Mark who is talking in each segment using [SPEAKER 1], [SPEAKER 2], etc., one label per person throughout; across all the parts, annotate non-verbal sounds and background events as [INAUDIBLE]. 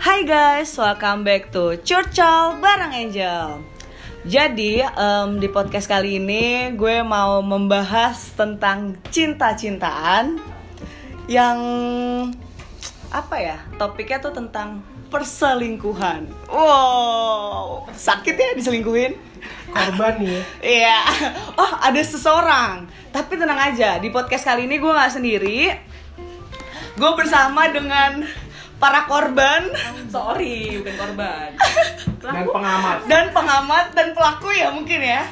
[SPEAKER 1] Hai guys, welcome back to Curcol bareng Angel. Jadi em, di podcast kali ini gue mau membahas tentang cinta-cintaan yang apa ya? Topiknya tuh tentang perselingkuhan. Wow, sakit ya diselingkuhin?
[SPEAKER 2] korban nih
[SPEAKER 1] Iya. [LAUGHS] Oh, ada seseorang. Tapi tenang aja, di podcast kali ini gue nggak sendiri. Gue bersama dengan para korban
[SPEAKER 3] Sorry, bukan korban.
[SPEAKER 2] dan pengamat
[SPEAKER 1] dan pengamat dan pelaku ya mungkin ya.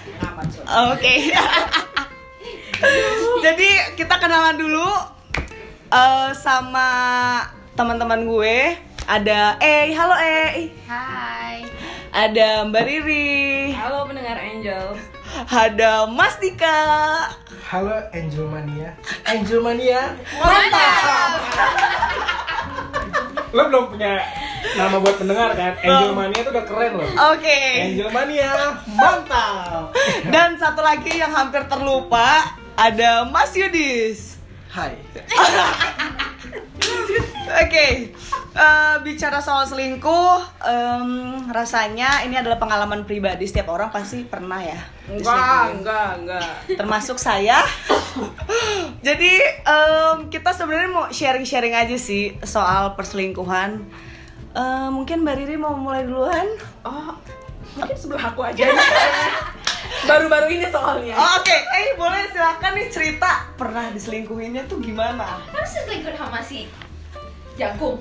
[SPEAKER 1] Oke. Jadi kita kenalan dulu eh, sama teman-teman gue. Ada eh halo eh.
[SPEAKER 4] Hai.
[SPEAKER 1] Ada Mbak Riri.
[SPEAKER 3] Halo pendengar Angel.
[SPEAKER 1] Ada Mas Dika.
[SPEAKER 2] halo Angel Mania Angel Mania lo belum punya nama buat pendengar kan Angel Mania itu udah keren loh
[SPEAKER 1] Oke.
[SPEAKER 2] Angel Mania mantap
[SPEAKER 1] Dan satu lagi yang hampir terlupa ada Mas Yudis.
[SPEAKER 2] Hai
[SPEAKER 1] Oke, eh, bicara soal selingkuh, em, rasanya ini adalah pengalaman pribadi setiap orang pasti pernah ya.
[SPEAKER 3] Enggak,
[SPEAKER 1] diselingkuhin.
[SPEAKER 3] enggak, enggak.
[SPEAKER 1] Termasuk saya. Jadi em, kita sebenarnya mau sharing-sharing aja sih soal perselingkuhan. Eh, mungkin Mbak Riri mau mulai duluan.
[SPEAKER 3] Oh, mungkin sebelah aku aja. Baru-baru ini soalnya.
[SPEAKER 1] Oh, Oke, eh boleh silahkan nih cerita pernah diselingkuhinnya tuh gimana?
[SPEAKER 4] Harus selingkuh sama si
[SPEAKER 3] Jagung.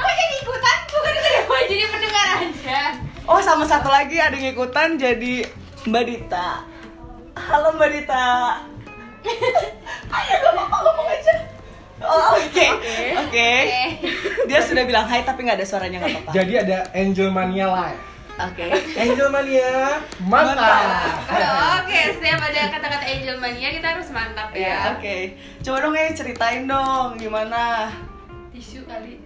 [SPEAKER 4] Kok jadi ikutan? Bukan itu ya? deh, mau jadi pendengar aja
[SPEAKER 1] Oh sama satu lagi ada yang ikutan jadi Mbak Dita Halo Mbak Dita Ayo gak apa-apa ngomong aja Oh, Oke, oke.
[SPEAKER 4] Eh.
[SPEAKER 1] Dia sudah bilang hai tapi nggak ada suaranya nggak apa-apa.
[SPEAKER 2] jadi ada Angel Mania live
[SPEAKER 1] Oke.
[SPEAKER 2] Angel Mania mantap
[SPEAKER 4] Oh, Oke, setiap ada kata-kata angel mania kita harus mantap
[SPEAKER 1] Ya,
[SPEAKER 4] ya
[SPEAKER 1] oke. Coba dong eh ceritain dong gimana.
[SPEAKER 4] Tisu kali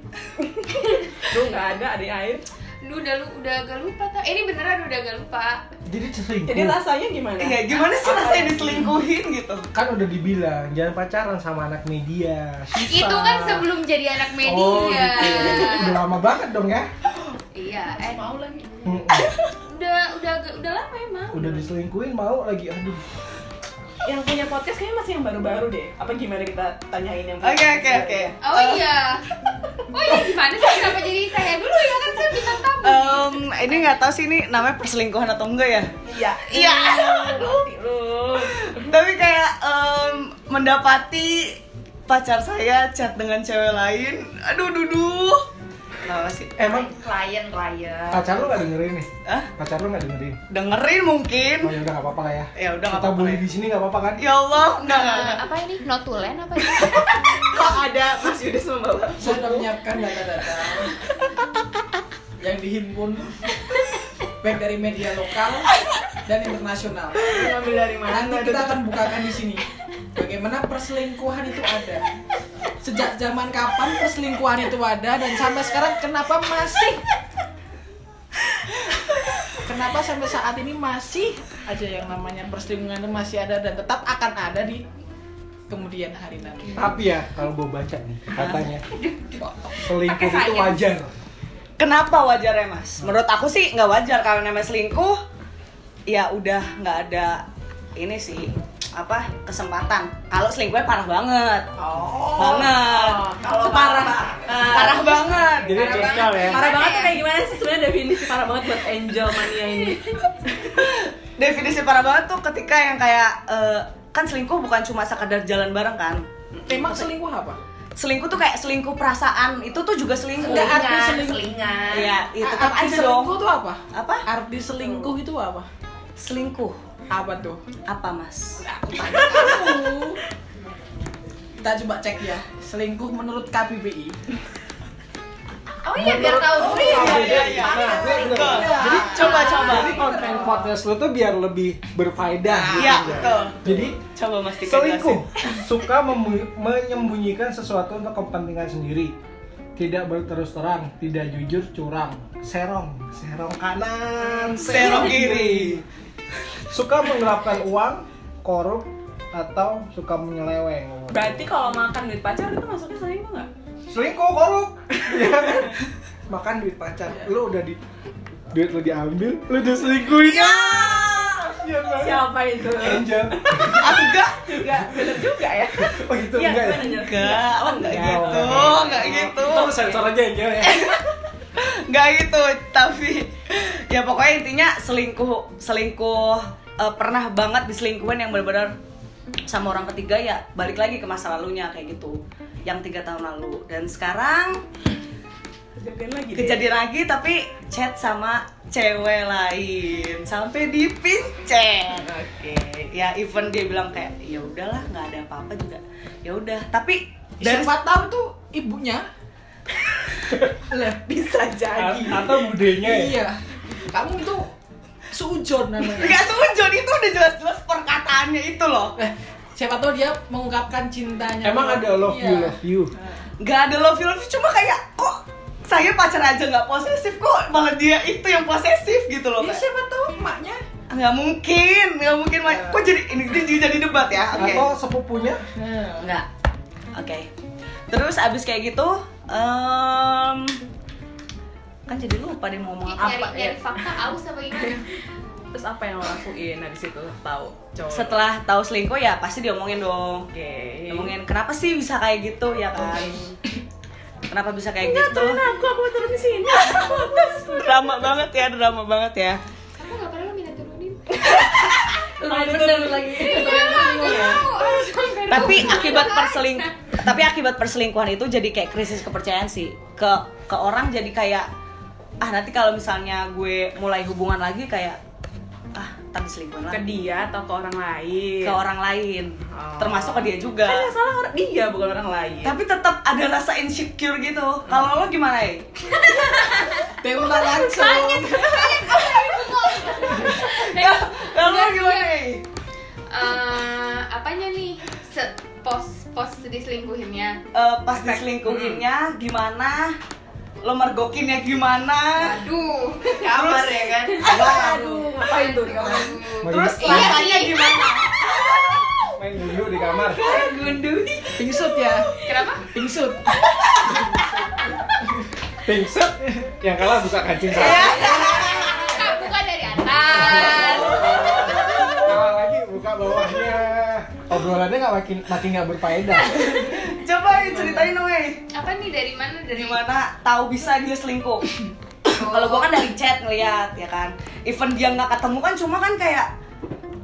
[SPEAKER 3] Lu enggak ada ada air.
[SPEAKER 4] Duh, udah, lu, udah agak lupa tak? Eh, ini beneran udah agak lupa
[SPEAKER 2] jadi
[SPEAKER 3] Jadi
[SPEAKER 2] selingkuh
[SPEAKER 3] rasanya gimana?
[SPEAKER 1] Iya, gimana sih rasanya diselingkuhin gitu?
[SPEAKER 2] kan udah dibilang jangan pacaran sama anak media Susah.
[SPEAKER 4] Itu kan sebelum jadi anak media
[SPEAKER 2] Oh, gitu. udah lama banget dong ya
[SPEAKER 4] Iya, eh Mau lagi
[SPEAKER 2] Mm-mm.
[SPEAKER 4] Udah, udah, agak- udah lama emang
[SPEAKER 2] udah diselingkuhin mau lagi aduh
[SPEAKER 3] Yang punya podcast kayaknya masih yang baru-baru deh. Apa gimana kita tanyain yang
[SPEAKER 1] Oke, oke, oke.
[SPEAKER 4] Oh iya Oh iya, gimana sih? Kenapa jadi saya dulu ya? Kan saya bintang tamu
[SPEAKER 1] Em, ini nggak tahu sih ini namanya perselingkuhan atau enggak ya?
[SPEAKER 3] Iya.
[SPEAKER 1] Iya.
[SPEAKER 3] Ngerti lu.
[SPEAKER 1] tapi kayak em, mendapati pacar saya chat dengan cewek lain aduh duduh kenapa sih
[SPEAKER 2] Eh, emang
[SPEAKER 4] Klien, klien
[SPEAKER 2] pacar lu nggak dengerin nih
[SPEAKER 1] Hah?
[SPEAKER 2] pacar lu nggak dengerin
[SPEAKER 1] dengerin mungkin
[SPEAKER 2] oh ya udah nggak apa-apa lah ya
[SPEAKER 1] ya udah nggak
[SPEAKER 2] kita
[SPEAKER 1] apa-apa
[SPEAKER 2] boleh
[SPEAKER 1] ya.
[SPEAKER 2] di sini nggak apa-apa kan
[SPEAKER 1] ya Allah enggak enggak, enggak.
[SPEAKER 4] Eh, apa ini notulen apa ini?
[SPEAKER 3] Kok ada Mas Yudis membawa?
[SPEAKER 5] sudah menyiapkan data-data yang dihimpun baik dari media lokal dan internasional.
[SPEAKER 3] Ngambil dari mana?
[SPEAKER 5] Nanti kita akan bukakan di sini bagaimana perselingkuhan itu ada. Sejak zaman kapan perselingkuhan itu ada dan sampai sekarang kenapa masih Kenapa sampai saat ini masih aja yang namanya perselingkuhan itu masih ada dan tetap akan ada di kemudian hari nanti.
[SPEAKER 2] tapi ya kalau gue baca nih
[SPEAKER 1] [LAUGHS]
[SPEAKER 2] katanya
[SPEAKER 4] Pakai
[SPEAKER 1] gitu.
[SPEAKER 2] selingkuh itu
[SPEAKER 4] science.
[SPEAKER 2] wajar
[SPEAKER 1] kenapa wajarnya mas menurut aku sih nggak wajar kalau namanya selingkuh ya udah nggak ada ini sih apa kesempatan kalau selingkuhnya parah banget
[SPEAKER 3] Oh.
[SPEAKER 1] banget
[SPEAKER 3] Kalau
[SPEAKER 1] parah
[SPEAKER 3] parah.
[SPEAKER 1] parah banget
[SPEAKER 2] jadi cekal ya
[SPEAKER 3] Parah banget tuh kayak gimana sih sebenarnya definisi parah banget buat Angel Mania ini?
[SPEAKER 1] definisi parah banget tuh ketika yang kayak eh, kan selingkuh bukan cuma sekadar jalan bareng kan
[SPEAKER 5] Memang selingkuh apa?
[SPEAKER 1] selingkuh tuh kayak selingkuh perasaan itu tuh juga selingkuh
[SPEAKER 5] Enggak, arti
[SPEAKER 4] Selingan, Iya.
[SPEAKER 5] selingkuh.
[SPEAKER 4] selingan.
[SPEAKER 1] ya ya tetap
[SPEAKER 5] Arti
[SPEAKER 1] aja
[SPEAKER 5] selingkuh
[SPEAKER 1] dong
[SPEAKER 5] itu apa?
[SPEAKER 1] apa
[SPEAKER 5] Arti selingkuh itu apa?
[SPEAKER 1] selingkuh
[SPEAKER 5] Apa tuh?
[SPEAKER 1] apa mas
[SPEAKER 5] Aku tanya kamu. Kita coba cek ya. Selingkuh menurut KBBI.
[SPEAKER 4] Oh iya, biar tahu dulu ya.
[SPEAKER 2] iya iya nah, gue bener. jadi
[SPEAKER 1] coba coba
[SPEAKER 2] jadi konten podcast lu tuh biar lebih berfaedah gitu.
[SPEAKER 1] iya betul
[SPEAKER 2] jadi
[SPEAKER 1] coba mas Tika
[SPEAKER 2] selingkuh
[SPEAKER 1] jelasin.
[SPEAKER 2] [LAUGHS] suka memu- menyembunyikan sesuatu untuk kepentingan sendiri tidak berterus terang tidak jujur curang serong serong kanan
[SPEAKER 1] serong kiri
[SPEAKER 2] suka menggelapkan uang korup atau suka menyeleweng
[SPEAKER 3] Berarti kalau makan duit pacar itu masuknya selingkuh nggak?
[SPEAKER 2] selingkuh korup ya kan? makan duit pacar
[SPEAKER 5] Iya.
[SPEAKER 2] lu udah di duit lu diambil lu diselingkuhin ya banget
[SPEAKER 3] Siapa itu?
[SPEAKER 2] kan? Angel
[SPEAKER 3] Enggak, bener juga ya.
[SPEAKER 2] oh gitu
[SPEAKER 3] Iya,
[SPEAKER 2] enggak ya
[SPEAKER 3] bener.
[SPEAKER 1] Enggak, oh enggak
[SPEAKER 2] Enggak,
[SPEAKER 1] gitu,
[SPEAKER 2] enggak.
[SPEAKER 1] enggak gitu.
[SPEAKER 2] Ntar lu sensor aja Angel ya
[SPEAKER 1] Enggak gitu, tapi ya pokoknya intinya selingkuh selingkuh eh, pernah banget diselingkuhin yang benar-benar sama orang ketiga ya balik lagi ke masa lalunya kayak gitu yang tiga tahun lalu dan sekarang
[SPEAKER 3] Kejadian lagi. deh.
[SPEAKER 1] kejadian lagi tapi chat sama cewek lain sampai dipincet oke ya even dia bilang kayak ya udahlah nggak ada apa-apa juga ya udah tapi dari
[SPEAKER 5] Siapa tahu tuh ibunya. [LAUGHS]
[SPEAKER 3] Lah, bisa
[SPEAKER 2] A-
[SPEAKER 3] jadi.
[SPEAKER 2] atau budenya ya
[SPEAKER 5] Iya. Kamu itu seujon namanya.
[SPEAKER 1] nggak sujud itu udah jelas-jelas perkataannya itu loh
[SPEAKER 5] Eh, siapa tahu dia mengungkapkan cintanya.
[SPEAKER 2] emang ada love you
[SPEAKER 5] Iya.
[SPEAKER 2] love you
[SPEAKER 1] nggak ada love you love you, cuma kayak kok saya pacar aja nggak posesif kok malah dia itu yang posesif gitu loh
[SPEAKER 5] Ya,
[SPEAKER 1] kayak,
[SPEAKER 5] siapa tahu emaknya.
[SPEAKER 1] "Ah, nggak mungkin nggak mungkin Mai." kok jadi ini jadi, jadi debat ya oke
[SPEAKER 2] atau sepupunya
[SPEAKER 5] Nah,
[SPEAKER 1] Enggak. Oke. Terus abis kayak gitu, em, kan jadi lupa deh mau ngomong
[SPEAKER 4] Nyari,
[SPEAKER 1] apa ya.
[SPEAKER 4] nyari fakta aus apa gimana?
[SPEAKER 3] Terus apa yang lo lakuin habis itu tahu cowok?
[SPEAKER 1] Setelah tahu selingkuh ya pasti diomongin dong.
[SPEAKER 3] Oke.
[SPEAKER 1] Ngomongin kenapa sih bisa kayak gitu ya kan? Kenapa bisa kayak
[SPEAKER 3] Enggak
[SPEAKER 1] gitu?
[SPEAKER 3] turun aku, aku turun di sini.
[SPEAKER 1] Drama banget ya, drama banget ya.
[SPEAKER 4] Kamu gak perlu minta turunin.
[SPEAKER 1] Iya,
[SPEAKER 3] Turun bener lagi.
[SPEAKER 4] Iya lah, gak mau. Harus sampai
[SPEAKER 1] Tapi
[SPEAKER 4] rumah.
[SPEAKER 1] akibat perseling tapi akibat perselingkuhan itu jadi kayak krisis kepercayaan sih ke ke orang jadi kayak ah nanti kalau misalnya gue mulai hubungan lagi kayak ah tadi selingkuhan lagi.
[SPEAKER 3] Ke dia atau ke orang lain?
[SPEAKER 1] ke orang lain
[SPEAKER 3] Oh.
[SPEAKER 1] termasuk ke dia juga Iya.
[SPEAKER 3] Kan yang salah orang dia bukan orang lain.
[SPEAKER 1] tapi tetap ada rasa insecure gitu kalau lo gimana ya
[SPEAKER 5] Tembak langsung.
[SPEAKER 1] kalau lo gimana ya
[SPEAKER 4] Eh, apanya nih? Se- pos pos diselingkuhinnya.
[SPEAKER 1] Eh, pas diselingkuhinnya gimana lo mergokinnya gimana
[SPEAKER 4] Aduh.
[SPEAKER 1] kamar ya kan
[SPEAKER 3] Aduh, ngapain tuh di kamar?
[SPEAKER 2] Main-
[SPEAKER 4] Iya
[SPEAKER 1] terus rasanya ya gimana
[SPEAKER 2] main dulu di kamar
[SPEAKER 1] gundu
[SPEAKER 5] Pingsut ya.
[SPEAKER 1] [LAUGHS]
[SPEAKER 4] Kenapa?
[SPEAKER 5] Pingsut.
[SPEAKER 2] pingset yang kalah buka kancing satu
[SPEAKER 4] Kak, buka dari atas.
[SPEAKER 2] kalah lagi buka bawahnya obrolannya nggak makin makin nggak berfaedah
[SPEAKER 1] [LAUGHS] coba ya, ceritain dong Wei.
[SPEAKER 4] Apa nih dari mana? Dari
[SPEAKER 1] gimana tahu bisa dia selingkuh kalau gua kan dari chat ngeliat ya kan even dia nggak ketemu kan cuma kan kayak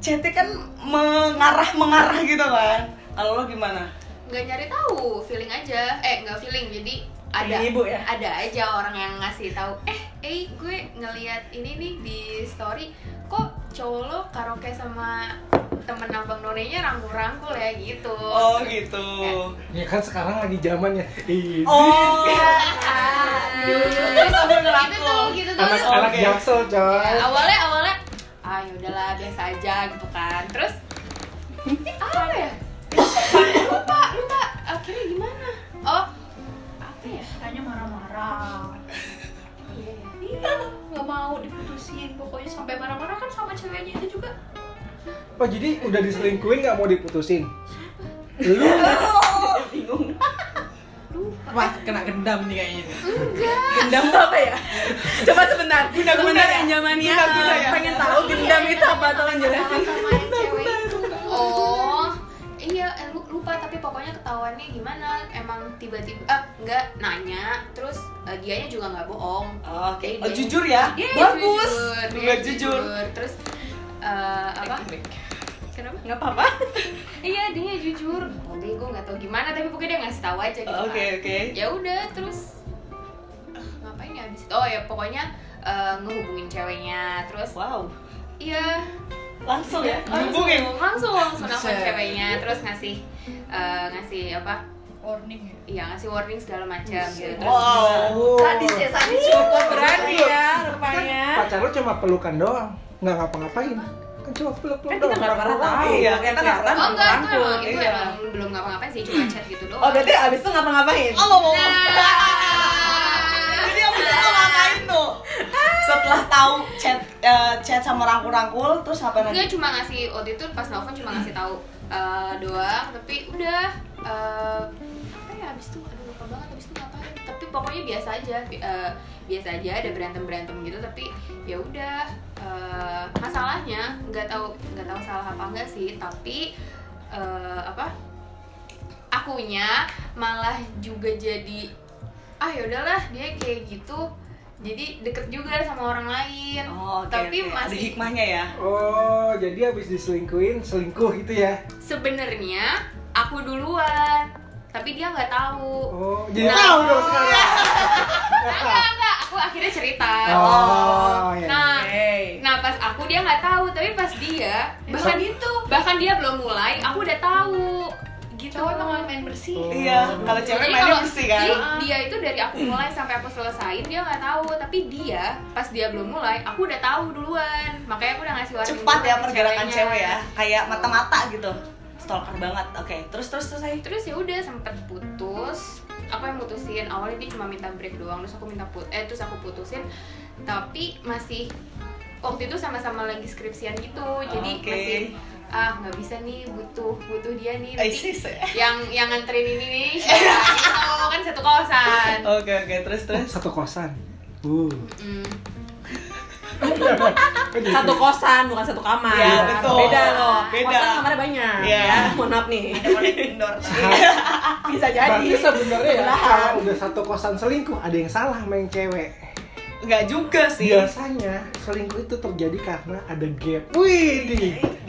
[SPEAKER 1] chatnya kan mengarah mengarah gitu kan kalau lo gimana
[SPEAKER 4] nggak nyari tahu feeling aja eh nggak feeling jadi ada
[SPEAKER 3] Feeling ibu ya?
[SPEAKER 4] ada aja orang yang ngasih tahu eh eh gue ngeliat ini nih di story kok cowok lo karaoke sama temen abang nonenya rangkul-rangkul ya gitu
[SPEAKER 1] oh gitu
[SPEAKER 2] ya kan sekarang lagi zamannya Ih,
[SPEAKER 1] oh
[SPEAKER 4] Ah, terus
[SPEAKER 1] sambil
[SPEAKER 4] gitu tuh
[SPEAKER 1] ngerangkul.
[SPEAKER 4] gitu
[SPEAKER 2] anak
[SPEAKER 4] tuh
[SPEAKER 2] anak
[SPEAKER 1] Oke.
[SPEAKER 2] jaksel coy
[SPEAKER 4] Ya, awalnya awalnya ah yaudahlah biasa aja gitu kan terus apa ya lupa lupa akhirnya gimana oh apa ya
[SPEAKER 6] Tanya marah-marah
[SPEAKER 4] Iya, iya.
[SPEAKER 6] Iya, nggak mau diputusin Pokoknya sampai marah-marah kan sama ceweknya itu juga
[SPEAKER 2] oh jadi udah diselingkuhin nggak mau diputusin lu
[SPEAKER 5] Wah, kena gendam nih kayaknya. nih.
[SPEAKER 3] Gendam tuh apa ya? Coba sebentar.
[SPEAKER 1] Guna-guna ya?
[SPEAKER 3] Anjamania
[SPEAKER 1] Guna-guna ya?
[SPEAKER 3] pengen tahu gendam itu apa tolong jelasin.
[SPEAKER 4] sama yang cewek itu. Oh, iya eh, lu- lupa tapi pokoknya ketahuannya gimana? Emang tiba-tiba eh, nggak nanya, terus eh, dianya juga nggak bohong.
[SPEAKER 1] oke
[SPEAKER 4] Jadi
[SPEAKER 1] oh,
[SPEAKER 4] dia-
[SPEAKER 1] jujur ya
[SPEAKER 4] Dia
[SPEAKER 1] bagus
[SPEAKER 4] jujur, dia
[SPEAKER 1] juga jujur
[SPEAKER 4] Terus eh, apa? Kenapa?
[SPEAKER 3] Enggak apa-apa.
[SPEAKER 4] [LAUGHS] Iya, dia jujur. Tapi gue nggak tahu gimana, tapi pokoknya dia ngasih tahu aja gitu. kan.
[SPEAKER 1] oke oke
[SPEAKER 4] Ya udah, terus eh, ngapain ya abis itu? Oh ya pokoknya eh, ngehubungin ceweknya, terus
[SPEAKER 1] wow
[SPEAKER 4] iya
[SPEAKER 1] langsung ya
[SPEAKER 4] langsung
[SPEAKER 1] hubungin
[SPEAKER 4] langsung langsung nelfon
[SPEAKER 5] Buset.
[SPEAKER 4] ceweknya terus ngasih eh, ngasih apa
[SPEAKER 6] Warning ya
[SPEAKER 4] iya ngasih warning segala macam gitu terus
[SPEAKER 3] Oh,
[SPEAKER 1] wow
[SPEAKER 6] Sadis ya, sadis
[SPEAKER 3] Cukup berani ya rupanya.
[SPEAKER 2] pacar lu cuma pelukan doang nggak ngapa-ngapain kan cuma peluk-peluk
[SPEAKER 3] Kan kita nggak pernah tahu.
[SPEAKER 1] Iya, kita nggak pernah.
[SPEAKER 4] oh enggak itu
[SPEAKER 3] kan Rangkul,
[SPEAKER 4] emang itu
[SPEAKER 1] iya.
[SPEAKER 4] emang belum ngapa-ngapain sih cuma chat gitu doang
[SPEAKER 3] Oh berarti abis itu ngapa-ngapain?
[SPEAKER 1] oh ngomong
[SPEAKER 4] Nah.
[SPEAKER 1] jadi abis itu lo ngapain tuh setelah tahu chat eh, chat sama rangkul-rangkul terus apa lagi
[SPEAKER 4] Enggak cuma ngasih waktu itu pas nelfon cuma ngasih tahu eh, doang tapi udah eh, apa ya abis itu aduh apa banget habis itu ngapain tapi pokoknya biasa aja bi- eh, biasa aja ada berantem berantem gitu tapi ya udah eh, masalahnya nggak tahu nggak tahu salah apa enggak sih tapi eh, apa akunya malah juga jadi ah ya udahlah dia kayak gitu jadi deket juga sama orang lain
[SPEAKER 1] Oh, oke,
[SPEAKER 4] tapi
[SPEAKER 1] oke. ada
[SPEAKER 4] masih
[SPEAKER 1] hikmahnya ya.
[SPEAKER 2] Oh, jadi habis diselingkuhin, selingkuh gitu ya.
[SPEAKER 4] sebenarnya aku duluan tapi dia nggak tahu
[SPEAKER 2] Oh, jadi
[SPEAKER 4] Nah.
[SPEAKER 2] tahu dong sekarang.
[SPEAKER 4] enggak enggak aku akhirnya cerita
[SPEAKER 2] Oh, ya.
[SPEAKER 4] nah
[SPEAKER 3] Hey.
[SPEAKER 4] nah pas aku dia nggak tahu tapi pas dia bahkan itu bahkan dia belum mulai aku udah tahu gitu
[SPEAKER 6] Cowok emang main bersih.
[SPEAKER 2] Oh.
[SPEAKER 1] Iya, kalau cewek
[SPEAKER 4] Jadi
[SPEAKER 1] mainnya
[SPEAKER 4] kalau- iya,
[SPEAKER 1] bersih kan.
[SPEAKER 4] jadi dia itu dari aku mulai sampai aku selesain dia nggak tahu tapi dia pas dia belum mulai aku udah tahu duluan makanya aku udah ngasih warning
[SPEAKER 1] Cepat
[SPEAKER 4] duluan
[SPEAKER 1] ya
[SPEAKER 4] ke
[SPEAKER 1] pergerakan
[SPEAKER 4] ceweknya.
[SPEAKER 1] cewek ya, kayak mata-mata gitu. Stalker banget. Oke, terus terus terus saya.
[SPEAKER 4] terus ya udah sempet putus aku yang mutusin awalnya dia cuma minta break doang terus aku minta put eh terus aku putusin tapi masih waktu itu sama-sama lagi skripsian gitu jadi
[SPEAKER 1] Oke.
[SPEAKER 4] masih ah nggak bisa nih butuh butuh dia nih
[SPEAKER 1] Eh,
[SPEAKER 4] nanti
[SPEAKER 1] sis.
[SPEAKER 4] yang yang nganterin ini nih [LAUGHS] siapa gitu kan satu kosan
[SPEAKER 1] Oke oke, terus
[SPEAKER 2] Oh,
[SPEAKER 1] terus.
[SPEAKER 2] satu kosan. Uh.
[SPEAKER 4] Mm.
[SPEAKER 3] Satu kosan bukan satu kamar.
[SPEAKER 1] Iya, betul.
[SPEAKER 3] Beda loh.
[SPEAKER 1] Beda.
[SPEAKER 3] Kosan kamarnya banyak.
[SPEAKER 1] Iya.
[SPEAKER 3] Ya, Mohon maaf nih.
[SPEAKER 1] Ada warna indoor.
[SPEAKER 3] Bisa jadi.
[SPEAKER 2] Berarti
[SPEAKER 5] Iya,
[SPEAKER 2] sebenarnya ya,
[SPEAKER 3] Sebelahan.
[SPEAKER 2] kalau udah satu kosan selingkuh, ada yang salah main cewek.
[SPEAKER 1] Enggak juga sih.
[SPEAKER 2] Biasanya selingkuh itu terjadi karena ada gap. Wih, di.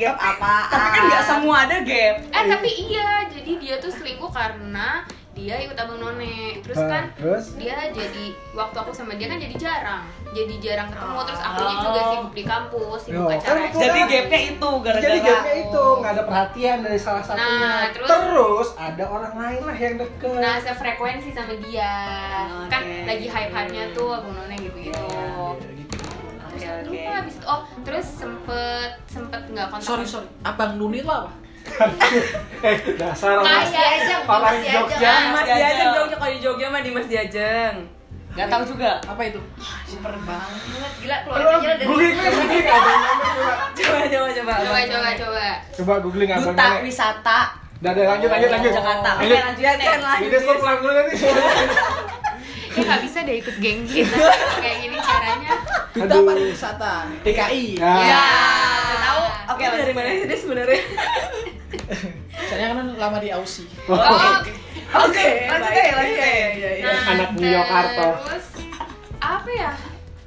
[SPEAKER 3] Gap apa?
[SPEAKER 1] Tapi kan nggak semua ada gap.
[SPEAKER 4] eh tapi iya jadi dia tuh selingkuh karena dia ikut abang none terus
[SPEAKER 2] Ah.
[SPEAKER 4] kan
[SPEAKER 2] terus
[SPEAKER 4] dia jadi waktu aku sama dia kan jadi jarang jadi jarang ketemu terus akunya juga sibuk di kampus sibuk
[SPEAKER 2] Oh,
[SPEAKER 4] acara
[SPEAKER 2] kan
[SPEAKER 1] Ah. Jadi gapnya itu gara-gara.
[SPEAKER 2] jadi gapnya itu nggak ada perhatian dari salah satunya.
[SPEAKER 4] Nah,
[SPEAKER 2] terus,
[SPEAKER 4] terus-
[SPEAKER 2] ada orang lain lah yang deket.
[SPEAKER 4] nah sefrekuensi sama dia
[SPEAKER 1] Ah, Oke.
[SPEAKER 4] kan lagi hype hypenya tuh abang none gitu gitu
[SPEAKER 2] Iya,
[SPEAKER 1] Oke, Iya, oke.
[SPEAKER 4] lupa abis itu oh terus sempet sempet nggak kontak
[SPEAKER 5] Sorry sorry, abang Nuni itu apa?
[SPEAKER 2] eh, dasar orang
[SPEAKER 6] Masih aja,
[SPEAKER 2] orang
[SPEAKER 6] masih
[SPEAKER 2] Jogja.
[SPEAKER 6] aja.
[SPEAKER 3] Mas
[SPEAKER 1] Diajeng.
[SPEAKER 3] Diajeng Jogja kalau di Jogja mah Dimas Diajeng.
[SPEAKER 1] Nggak tahu juga.
[SPEAKER 5] Apa itu?
[SPEAKER 1] Super banget.
[SPEAKER 6] Banget gila
[SPEAKER 2] Terus
[SPEAKER 6] keluarganya dari
[SPEAKER 2] googling, googling ada namanya coba.
[SPEAKER 3] Coba coba coba.
[SPEAKER 4] coba coba
[SPEAKER 1] [LAUGHS]
[SPEAKER 4] coba
[SPEAKER 2] Coba googling abang
[SPEAKER 1] Duta
[SPEAKER 2] None.
[SPEAKER 1] wisata
[SPEAKER 2] Dah, dah, lanjut, lanjut, lanjut.
[SPEAKER 1] Jakarta. Oke,
[SPEAKER 2] Lanjut.
[SPEAKER 1] lanjut ya, Nek.
[SPEAKER 2] Ini stop pulang dulu nih.
[SPEAKER 4] dia nggak bisa deh ikut geng kita
[SPEAKER 1] [LAUGHS]
[SPEAKER 4] kayak gini caranya
[SPEAKER 5] Duta
[SPEAKER 2] Aduh.
[SPEAKER 5] pariwisata DKI.
[SPEAKER 2] Nah,
[SPEAKER 1] Ya, udah tahu. Oke,
[SPEAKER 3] Oke, dari
[SPEAKER 1] lanjut.
[SPEAKER 3] mana sih dia sebenarnya?
[SPEAKER 5] Saya kan lama di Aussie.
[SPEAKER 4] oh
[SPEAKER 1] [LAUGHS] Oke, lanjut deh, lanjut deh.
[SPEAKER 3] Iya,
[SPEAKER 2] Anak New York Arto.
[SPEAKER 4] Nah, Terus apa ya?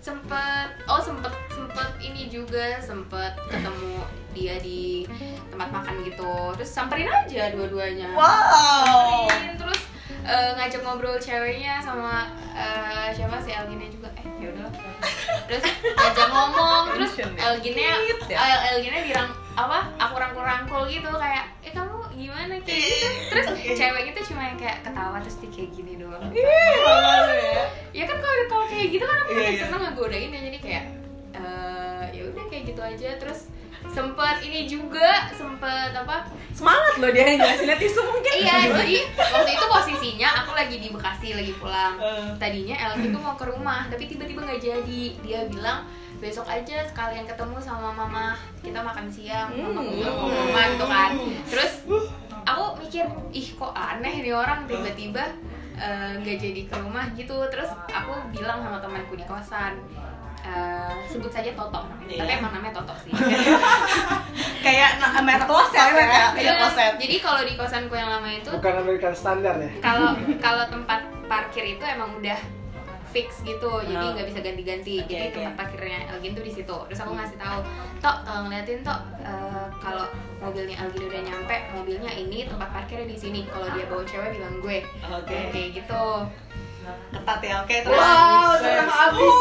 [SPEAKER 4] Sempet oh sempet sempet ini juga sempet ketemu dia di tempat makan gitu. Terus samperin aja dua-duanya.
[SPEAKER 1] Wow.
[SPEAKER 4] Samperin, terus eh, ngajak ngobrol ceweknya sama eh, siapa sih Elginnya juga. Eh, ya udahlah. Terus ngajak
[SPEAKER 1] [LAUGHS]
[SPEAKER 4] ngomong, terus Elginnya
[SPEAKER 1] ya?
[SPEAKER 4] El Elginnya dirang apa? Aku rangkul-rangkul gitu kayak, "Eh, kamu gimana?" kayak
[SPEAKER 1] Iya.
[SPEAKER 4] gitu. Terus cewek itu cuma yang kayak ketawa terus dia kayak gini doang ya kan kalau kalau kayak gitu kan aku
[SPEAKER 1] Iya,
[SPEAKER 4] yeah,
[SPEAKER 1] iya.
[SPEAKER 4] seneng ngegodain ya jadi kayak eh ya udah kayak gitu aja terus sempet ini juga sempet apa
[SPEAKER 3] Semangat loh dia yang jelasinnya tisu mungkin.
[SPEAKER 4] iya jadi waktu itu posisinya aku lagi di Bekasi lagi pulang
[SPEAKER 1] Eh.
[SPEAKER 4] tadinya Elvi tuh mau ke rumah tapi tiba-tiba nggak jadi dia bilang besok aja sekalian ketemu sama mama kita makan siang mama
[SPEAKER 3] Hmm.
[SPEAKER 4] mau ke rumah gitu kan terus aku mikir ih kok aneh nih orang tiba-tiba eh, nggak jadi ke rumah gitu terus aku bilang sama temanku di kosan eh, sebut saja Toto namanya. tapi
[SPEAKER 1] Iya.
[SPEAKER 4] emang namanya Toto sih
[SPEAKER 1] Kayak na- merek kloset ya. [LAUGHS] Iya, kloset.
[SPEAKER 4] jadi kalau di kosanku yang lama itu
[SPEAKER 2] Bukan American standar ya.
[SPEAKER 4] kalau kalau tempat parkir itu emang udah fix gitu jadi
[SPEAKER 1] Oh.
[SPEAKER 4] nggak bisa
[SPEAKER 1] Oke,
[SPEAKER 4] ganti-ganti jadi
[SPEAKER 1] oke. Hmm.
[SPEAKER 4] tempat parkirnya Elgin tuh di situ terus aku ngasih tahu tok eh, ngeliatin tok eh, kalau mobilnya Elgin udah nyampe mobilnya ini tempat parkirnya di sini kalau dia bawa cewek bilang gue
[SPEAKER 1] Oke.
[SPEAKER 4] kayak gitu
[SPEAKER 1] Ketat ya. Oke, terus.
[SPEAKER 3] Wow, udah mau habis.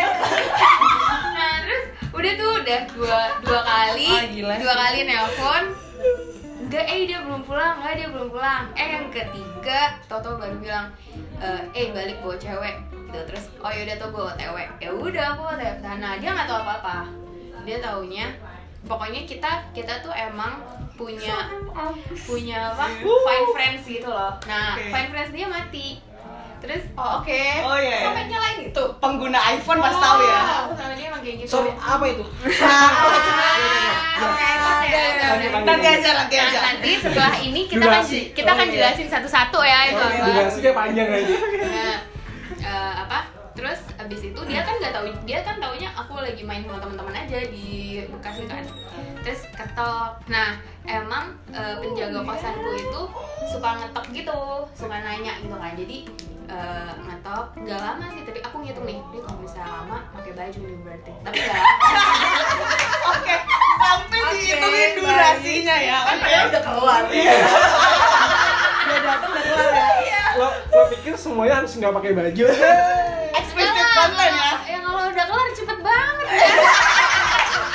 [SPEAKER 4] [LAUGHS] nah terus udah tuh udah dua dua kali
[SPEAKER 1] Ah, gila
[SPEAKER 4] dua
[SPEAKER 1] sih.
[SPEAKER 4] kali nelpon enggak eh dia belum pulang enggak dia belum pulang eh yang ketiga Toto baru bilang "Eh, eh balik bawa cewek gitu terus oh yaudah tuh gue otw ya udah aku otw ke sana dia nggak tahu apa apa dia taunya pokoknya kita kita tuh emang punya punya apa fine friends gitu loh nah
[SPEAKER 1] Oke.
[SPEAKER 4] fine friends dia mati Terus
[SPEAKER 6] Oh oke.
[SPEAKER 1] Oh, iya, iya.
[SPEAKER 6] Sampai nyalain gitu.
[SPEAKER 1] pengguna iPhone pasti tahu ya
[SPEAKER 4] aku sama dia emang kayak gitu. Ya.
[SPEAKER 5] Sorry, apa itu?
[SPEAKER 1] iya,
[SPEAKER 4] Ah, oke, oke, oke, oke.
[SPEAKER 1] nanti aja nanti
[SPEAKER 4] Nah,
[SPEAKER 1] aja
[SPEAKER 4] nanti setelah ini kita akan
[SPEAKER 2] Durasi.
[SPEAKER 4] kita akan jelasin satu-satu ya itu
[SPEAKER 1] Oh,
[SPEAKER 4] apa.
[SPEAKER 1] iya.
[SPEAKER 2] Durasinya panjang aja.
[SPEAKER 4] Nah, eh, apa? Terus abis itu dia kan nggak tahu dia kan taunya aku lagi main sama teman-teman aja di Bekasi kan. Terus ketok. Nah, emang eh, penjaga kosanku itu suka ngetok gitu, suka nanya gitu kan. Jadi eh, ngetok nggak lama sih, tapi aku ngitung nih. Dia kalau misalnya lama pakai baju nih berarti. Tapi nggak lama.
[SPEAKER 1] oke sampai dihitungin durasinya ya
[SPEAKER 3] kan kayaknya udah
[SPEAKER 1] [LAUGHS]
[SPEAKER 3] kelar
[SPEAKER 1] Iya.
[SPEAKER 3] udah datang udah kelar ya
[SPEAKER 2] Lo, lo pikir semuanya harus nggak pakai baju?
[SPEAKER 1] eksplisit
[SPEAKER 4] Nggak lama.
[SPEAKER 1] konten ya
[SPEAKER 4] Ya kalau udah kelar cepet banget.
[SPEAKER 3] terbukti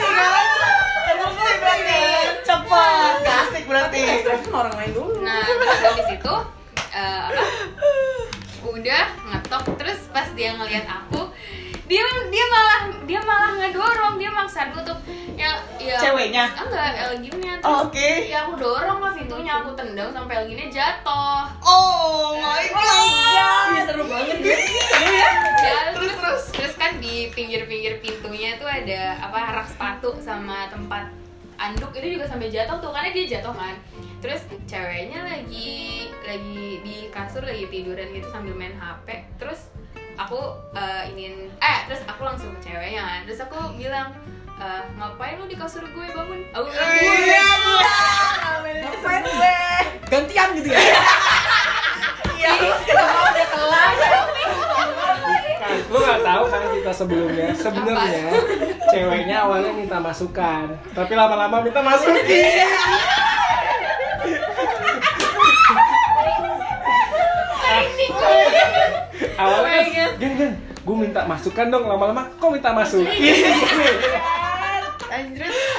[SPEAKER 3] kan terbukti
[SPEAKER 1] Iya,
[SPEAKER 3] berarti
[SPEAKER 1] cepat gak asik berarti
[SPEAKER 3] Tapi Iya, orang lain dulu
[SPEAKER 4] Nah, terus habis itu eh, apa? Udah ngetok terus pas dia ngelihat aku, dia dia malah dia malah ngedorong, dia maksa gue untuk ya ya
[SPEAKER 1] Ceweknya? Oh,
[SPEAKER 4] Enggak, Elginnya terus.
[SPEAKER 1] Oke.
[SPEAKER 4] Ya aku dorong lah pintunya, aku tendang sampai Elginnya jatuh.
[SPEAKER 1] oh my god
[SPEAKER 3] Ini seru banget ya
[SPEAKER 4] Ya, terus, terus terus kan di pinggir-pinggir pintunya tuh ada apa rak sepatu sama tempat anduk itu juga sampai jatuh tuh karena dia jatuh kan terus ceweknya lagi lagi di kasur lagi tiduran gitu sambil main hp terus aku eh, ingin eh terus aku langsung ke ceweknya kan terus aku bilang eh, ngapain lu di kasur gue bangun aku bilang gitu.
[SPEAKER 3] Ngapain gue
[SPEAKER 5] Gantian gitu ya.
[SPEAKER 3] Iya Kalau udah kelar
[SPEAKER 2] Kan, lo nggak tahu kan kita sebelumnya. Sebenarnya ceweknya awalnya minta masukan, tapi lama-lama minta masukin.
[SPEAKER 5] Iya.
[SPEAKER 2] awalnya, gen gen, gue minta masukan dong lama-lama kok minta masukin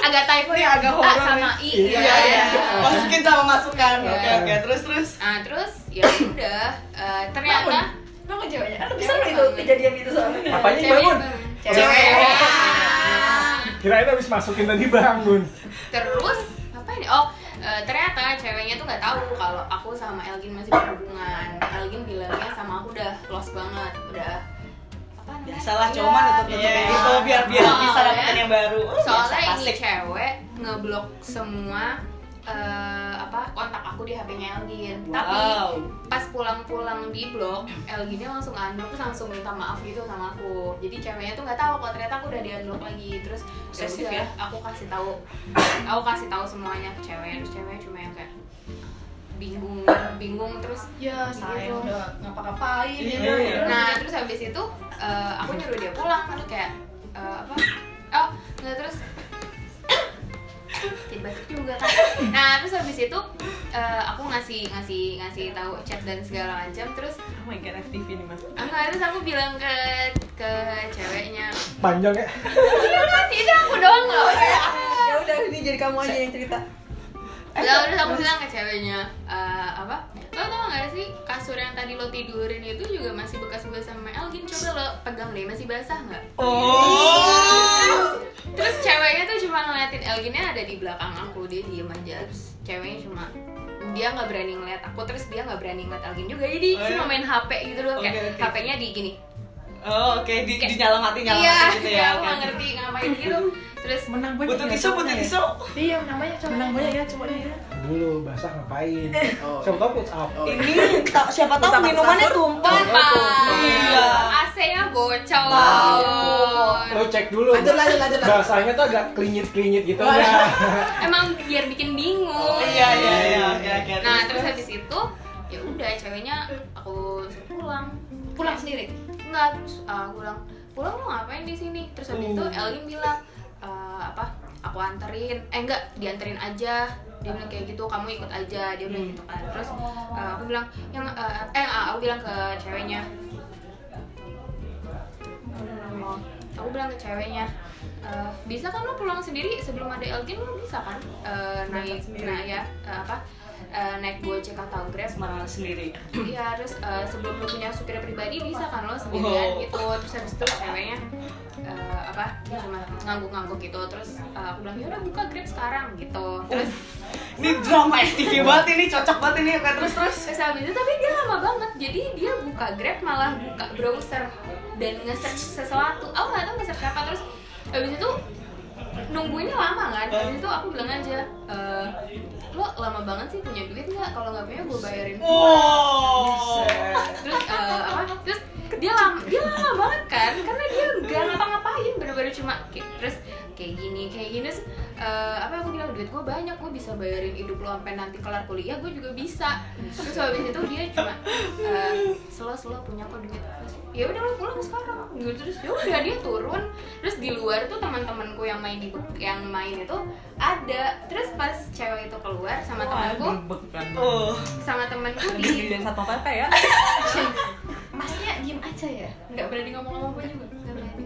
[SPEAKER 4] agak typo ya agak A sama i gitu
[SPEAKER 1] iya iya
[SPEAKER 4] ya.
[SPEAKER 1] masukin sama masukan oke
[SPEAKER 4] Iya.
[SPEAKER 1] oke terus terus
[SPEAKER 4] Nah, terus ya udah eh, ternyata
[SPEAKER 6] Bangun jawabnya. Aduh,
[SPEAKER 3] Bisa nggak
[SPEAKER 1] Iya.
[SPEAKER 3] itu kejadian itu soalnya
[SPEAKER 2] apanya bangun
[SPEAKER 4] cewek.
[SPEAKER 2] kirain habis masukin tadi bangun
[SPEAKER 4] Terus apa ini? Oh, eh, ternyata ceweknya tuh nggak tahu kalau aku sama Elgin masih berhubungan. Elgin bilangnya sama aku udah close banget, udah apa namanya?
[SPEAKER 1] biasalah
[SPEAKER 4] Iya.
[SPEAKER 1] cuman itu tutup
[SPEAKER 4] Iya.
[SPEAKER 1] gitu biar biar bisa
[SPEAKER 4] Soalnya-
[SPEAKER 1] dapetin yang baru Oh,
[SPEAKER 4] Soalnya
[SPEAKER 1] biasa,
[SPEAKER 4] ini
[SPEAKER 1] asik.
[SPEAKER 4] cewek ngeblok semua eh, apa kontak aku di HP-nya Elgin. Tapi
[SPEAKER 1] wow
[SPEAKER 4] pas pulang-pulang di blog Elginnya langsung unblock terus langsung minta maaf gitu sama aku jadi ceweknya tuh nggak tahu kalau ternyata aku udah di unblock lagi terus
[SPEAKER 1] Posesif ya?
[SPEAKER 4] yaudah, aku kasih tahu aku kasih tahu semuanya ke ceweknya terus ceweknya cuma yang kayak bingung bingung terus
[SPEAKER 6] Ya,
[SPEAKER 4] Gitu.
[SPEAKER 6] sayang udah ngapa-ngapain ya.
[SPEAKER 2] Iya, iya.
[SPEAKER 6] udah.
[SPEAKER 4] nah terus habis itu eh, aku nyuruh dia pulang kan kayak eh, apa oh nggak terus [COUGHS] tiba juga kan nah terus habis itu eh, aku ngasih ngasih ngasih tahu chat dan segala macam terus
[SPEAKER 3] Oh my god FTV nih mas
[SPEAKER 4] Enggak, terus aku bilang ke ke ceweknya
[SPEAKER 2] panjang ya
[SPEAKER 4] Iya kan, itu aku doang loh
[SPEAKER 3] Ya udah ini jadi kamu aja yang cerita
[SPEAKER 4] Lalu terus aku bilang ke ceweknya "Eh, Apa? Lo tau gak sih kasur yang tadi lo tidurin itu juga masih bekas-bekas sama Elgin Coba lo pegang deh, masih basah gak?
[SPEAKER 1] oh
[SPEAKER 4] Terus ceweknya tuh cuma ngeliatin Elginnya ada di belakang aku Dia diem aja, terus ceweknya cuma dia nggak berani ngeliat aku terus dia nggak berani ngeliat Elgin juga
[SPEAKER 1] Oh,
[SPEAKER 4] jadi
[SPEAKER 1] iya.
[SPEAKER 4] cuma main HP gitu doang
[SPEAKER 1] Oke,
[SPEAKER 4] kayak
[SPEAKER 1] oke.
[SPEAKER 4] HP-nya di gini
[SPEAKER 1] Oh, oke di di nyalamatnya
[SPEAKER 4] iya
[SPEAKER 1] nyalamatnya gitu ya.
[SPEAKER 4] iya aku
[SPEAKER 1] oke.
[SPEAKER 4] nggak ngerti ngapain gitu terus
[SPEAKER 5] Menang banyak. ya,
[SPEAKER 1] Butuh tisu, butuh tisu.
[SPEAKER 6] Iya, namanya cowok.
[SPEAKER 5] Menang banyak ya cuma ya.
[SPEAKER 2] dulu basah ngapain
[SPEAKER 5] Oh.
[SPEAKER 2] siapa tau push up
[SPEAKER 1] Ini tak siapa tahu
[SPEAKER 3] Sama
[SPEAKER 1] minumannya
[SPEAKER 3] sahur.
[SPEAKER 1] tumpah.
[SPEAKER 4] Bapak.
[SPEAKER 1] Iya.
[SPEAKER 4] AC-nya bocor.
[SPEAKER 2] lo cek dulu
[SPEAKER 5] Lanjut lanjut lanjut. lanjut.
[SPEAKER 2] basahnya tuh agak klinyit klinyit gitu ya
[SPEAKER 4] Emang biar bikin bingung.
[SPEAKER 1] Iya iya iya oke oke.
[SPEAKER 4] Nah, terus habis itu ya udah ceweknya aku suruh pulang.
[SPEAKER 6] Pulang sendiri.
[SPEAKER 4] Enggak, terus uh, aku bilang, "Pulang lu ngapain di sini?" Terus habis itu Elin bilang, "Eh, apa? Aku anterin." Eh enggak, dianterin aja. Dia bilang kayak gitu, "Kamu ikut aja." Dia bilang gitu kan. Terus uh, aku bilang, "Yang uh, eh uh, aku bilang ke ceweknya, Oh, aku bilang ke ceweknya "Eh, bisa kan lo pulang sendiri sebelum ada Elgin lo bisa kan eh, naik nah ya eh, apa eh, naik Gojek atau Grab
[SPEAKER 1] malah sendiri.
[SPEAKER 4] Iya, terus eh, sebelum lu punya supir pribadi bisa kan lo sendirian
[SPEAKER 1] Wow.
[SPEAKER 4] gitu. Terus habis itu ceweknya eh, apa? Dia cuma ngangguk-ngangguk gitu. Terus eh, aku bilang, "Ya udah buka Grab sekarang." gitu. Terus
[SPEAKER 1] Ini drama FTV banget ini cocok banget ini oke terus terus.
[SPEAKER 4] Terus habis itu tapi dia lama banget. Jadi dia buka Grab malah buka browser dan nge-search sesuatu. Aku nggak tahu nge-search apa terus habis itu nungguinnya lama kan. Habis itu aku bilang aja "Eh, lo lama banget sih punya duit nggak? Kalau nggak punya gue bayarin.
[SPEAKER 1] Wow.
[SPEAKER 4] Terus eh, apa? Terus dia lama, dia lama banget kan karena dia nggak ngapa-ngapain bener-bener cuma kayak, terus kayak gini kayak gini terus, eh, apa aku bilang duit gue banyak gue bisa bayarin hidup lo sampai nanti kelar kuliah gue juga bisa terus habis itu dia cuma eh, slow slow punya kok duit Terus, ya udah lo pulang sekarang gitu terus ya udah dia turun terus di luar tuh teman-temanku yang main di yang main itu ada terus pas cewek itu keluar sama temanku
[SPEAKER 1] Oh,
[SPEAKER 4] sama temanku gitu. di
[SPEAKER 3] Gede dan satu kata ya.
[SPEAKER 4] masnya diem aja ya nggak berani ngomong-ngomong apa juga Nggak berani.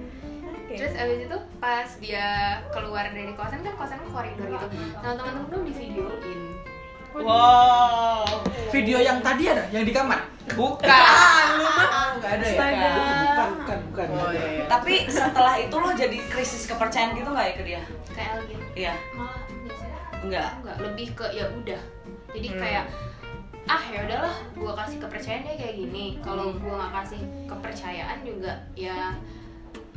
[SPEAKER 4] Terus abis itu pas dia keluar dari kosan kan kosan koridor gitu sama teman-teman tuh di videoin
[SPEAKER 1] wow.
[SPEAKER 5] Video yang tadi ada, yang di kamar.
[SPEAKER 1] Bukan.
[SPEAKER 5] Ah, nggak ada ya.
[SPEAKER 2] bukan bukan bukan
[SPEAKER 5] Oh iya. iya.
[SPEAKER 1] Tapi setelah itu lo jadi krisis kepercayaan gitu nggak ya ke dia?
[SPEAKER 4] kayak gitu
[SPEAKER 1] Iya.
[SPEAKER 4] malah enggak sih.
[SPEAKER 1] Enggak.
[SPEAKER 4] enggak lebih ke ya udah jadi kayak ah ya udahlah gua kasih kepercayaan dia kayak gini kalau gua nggak kasih kepercayaan juga ya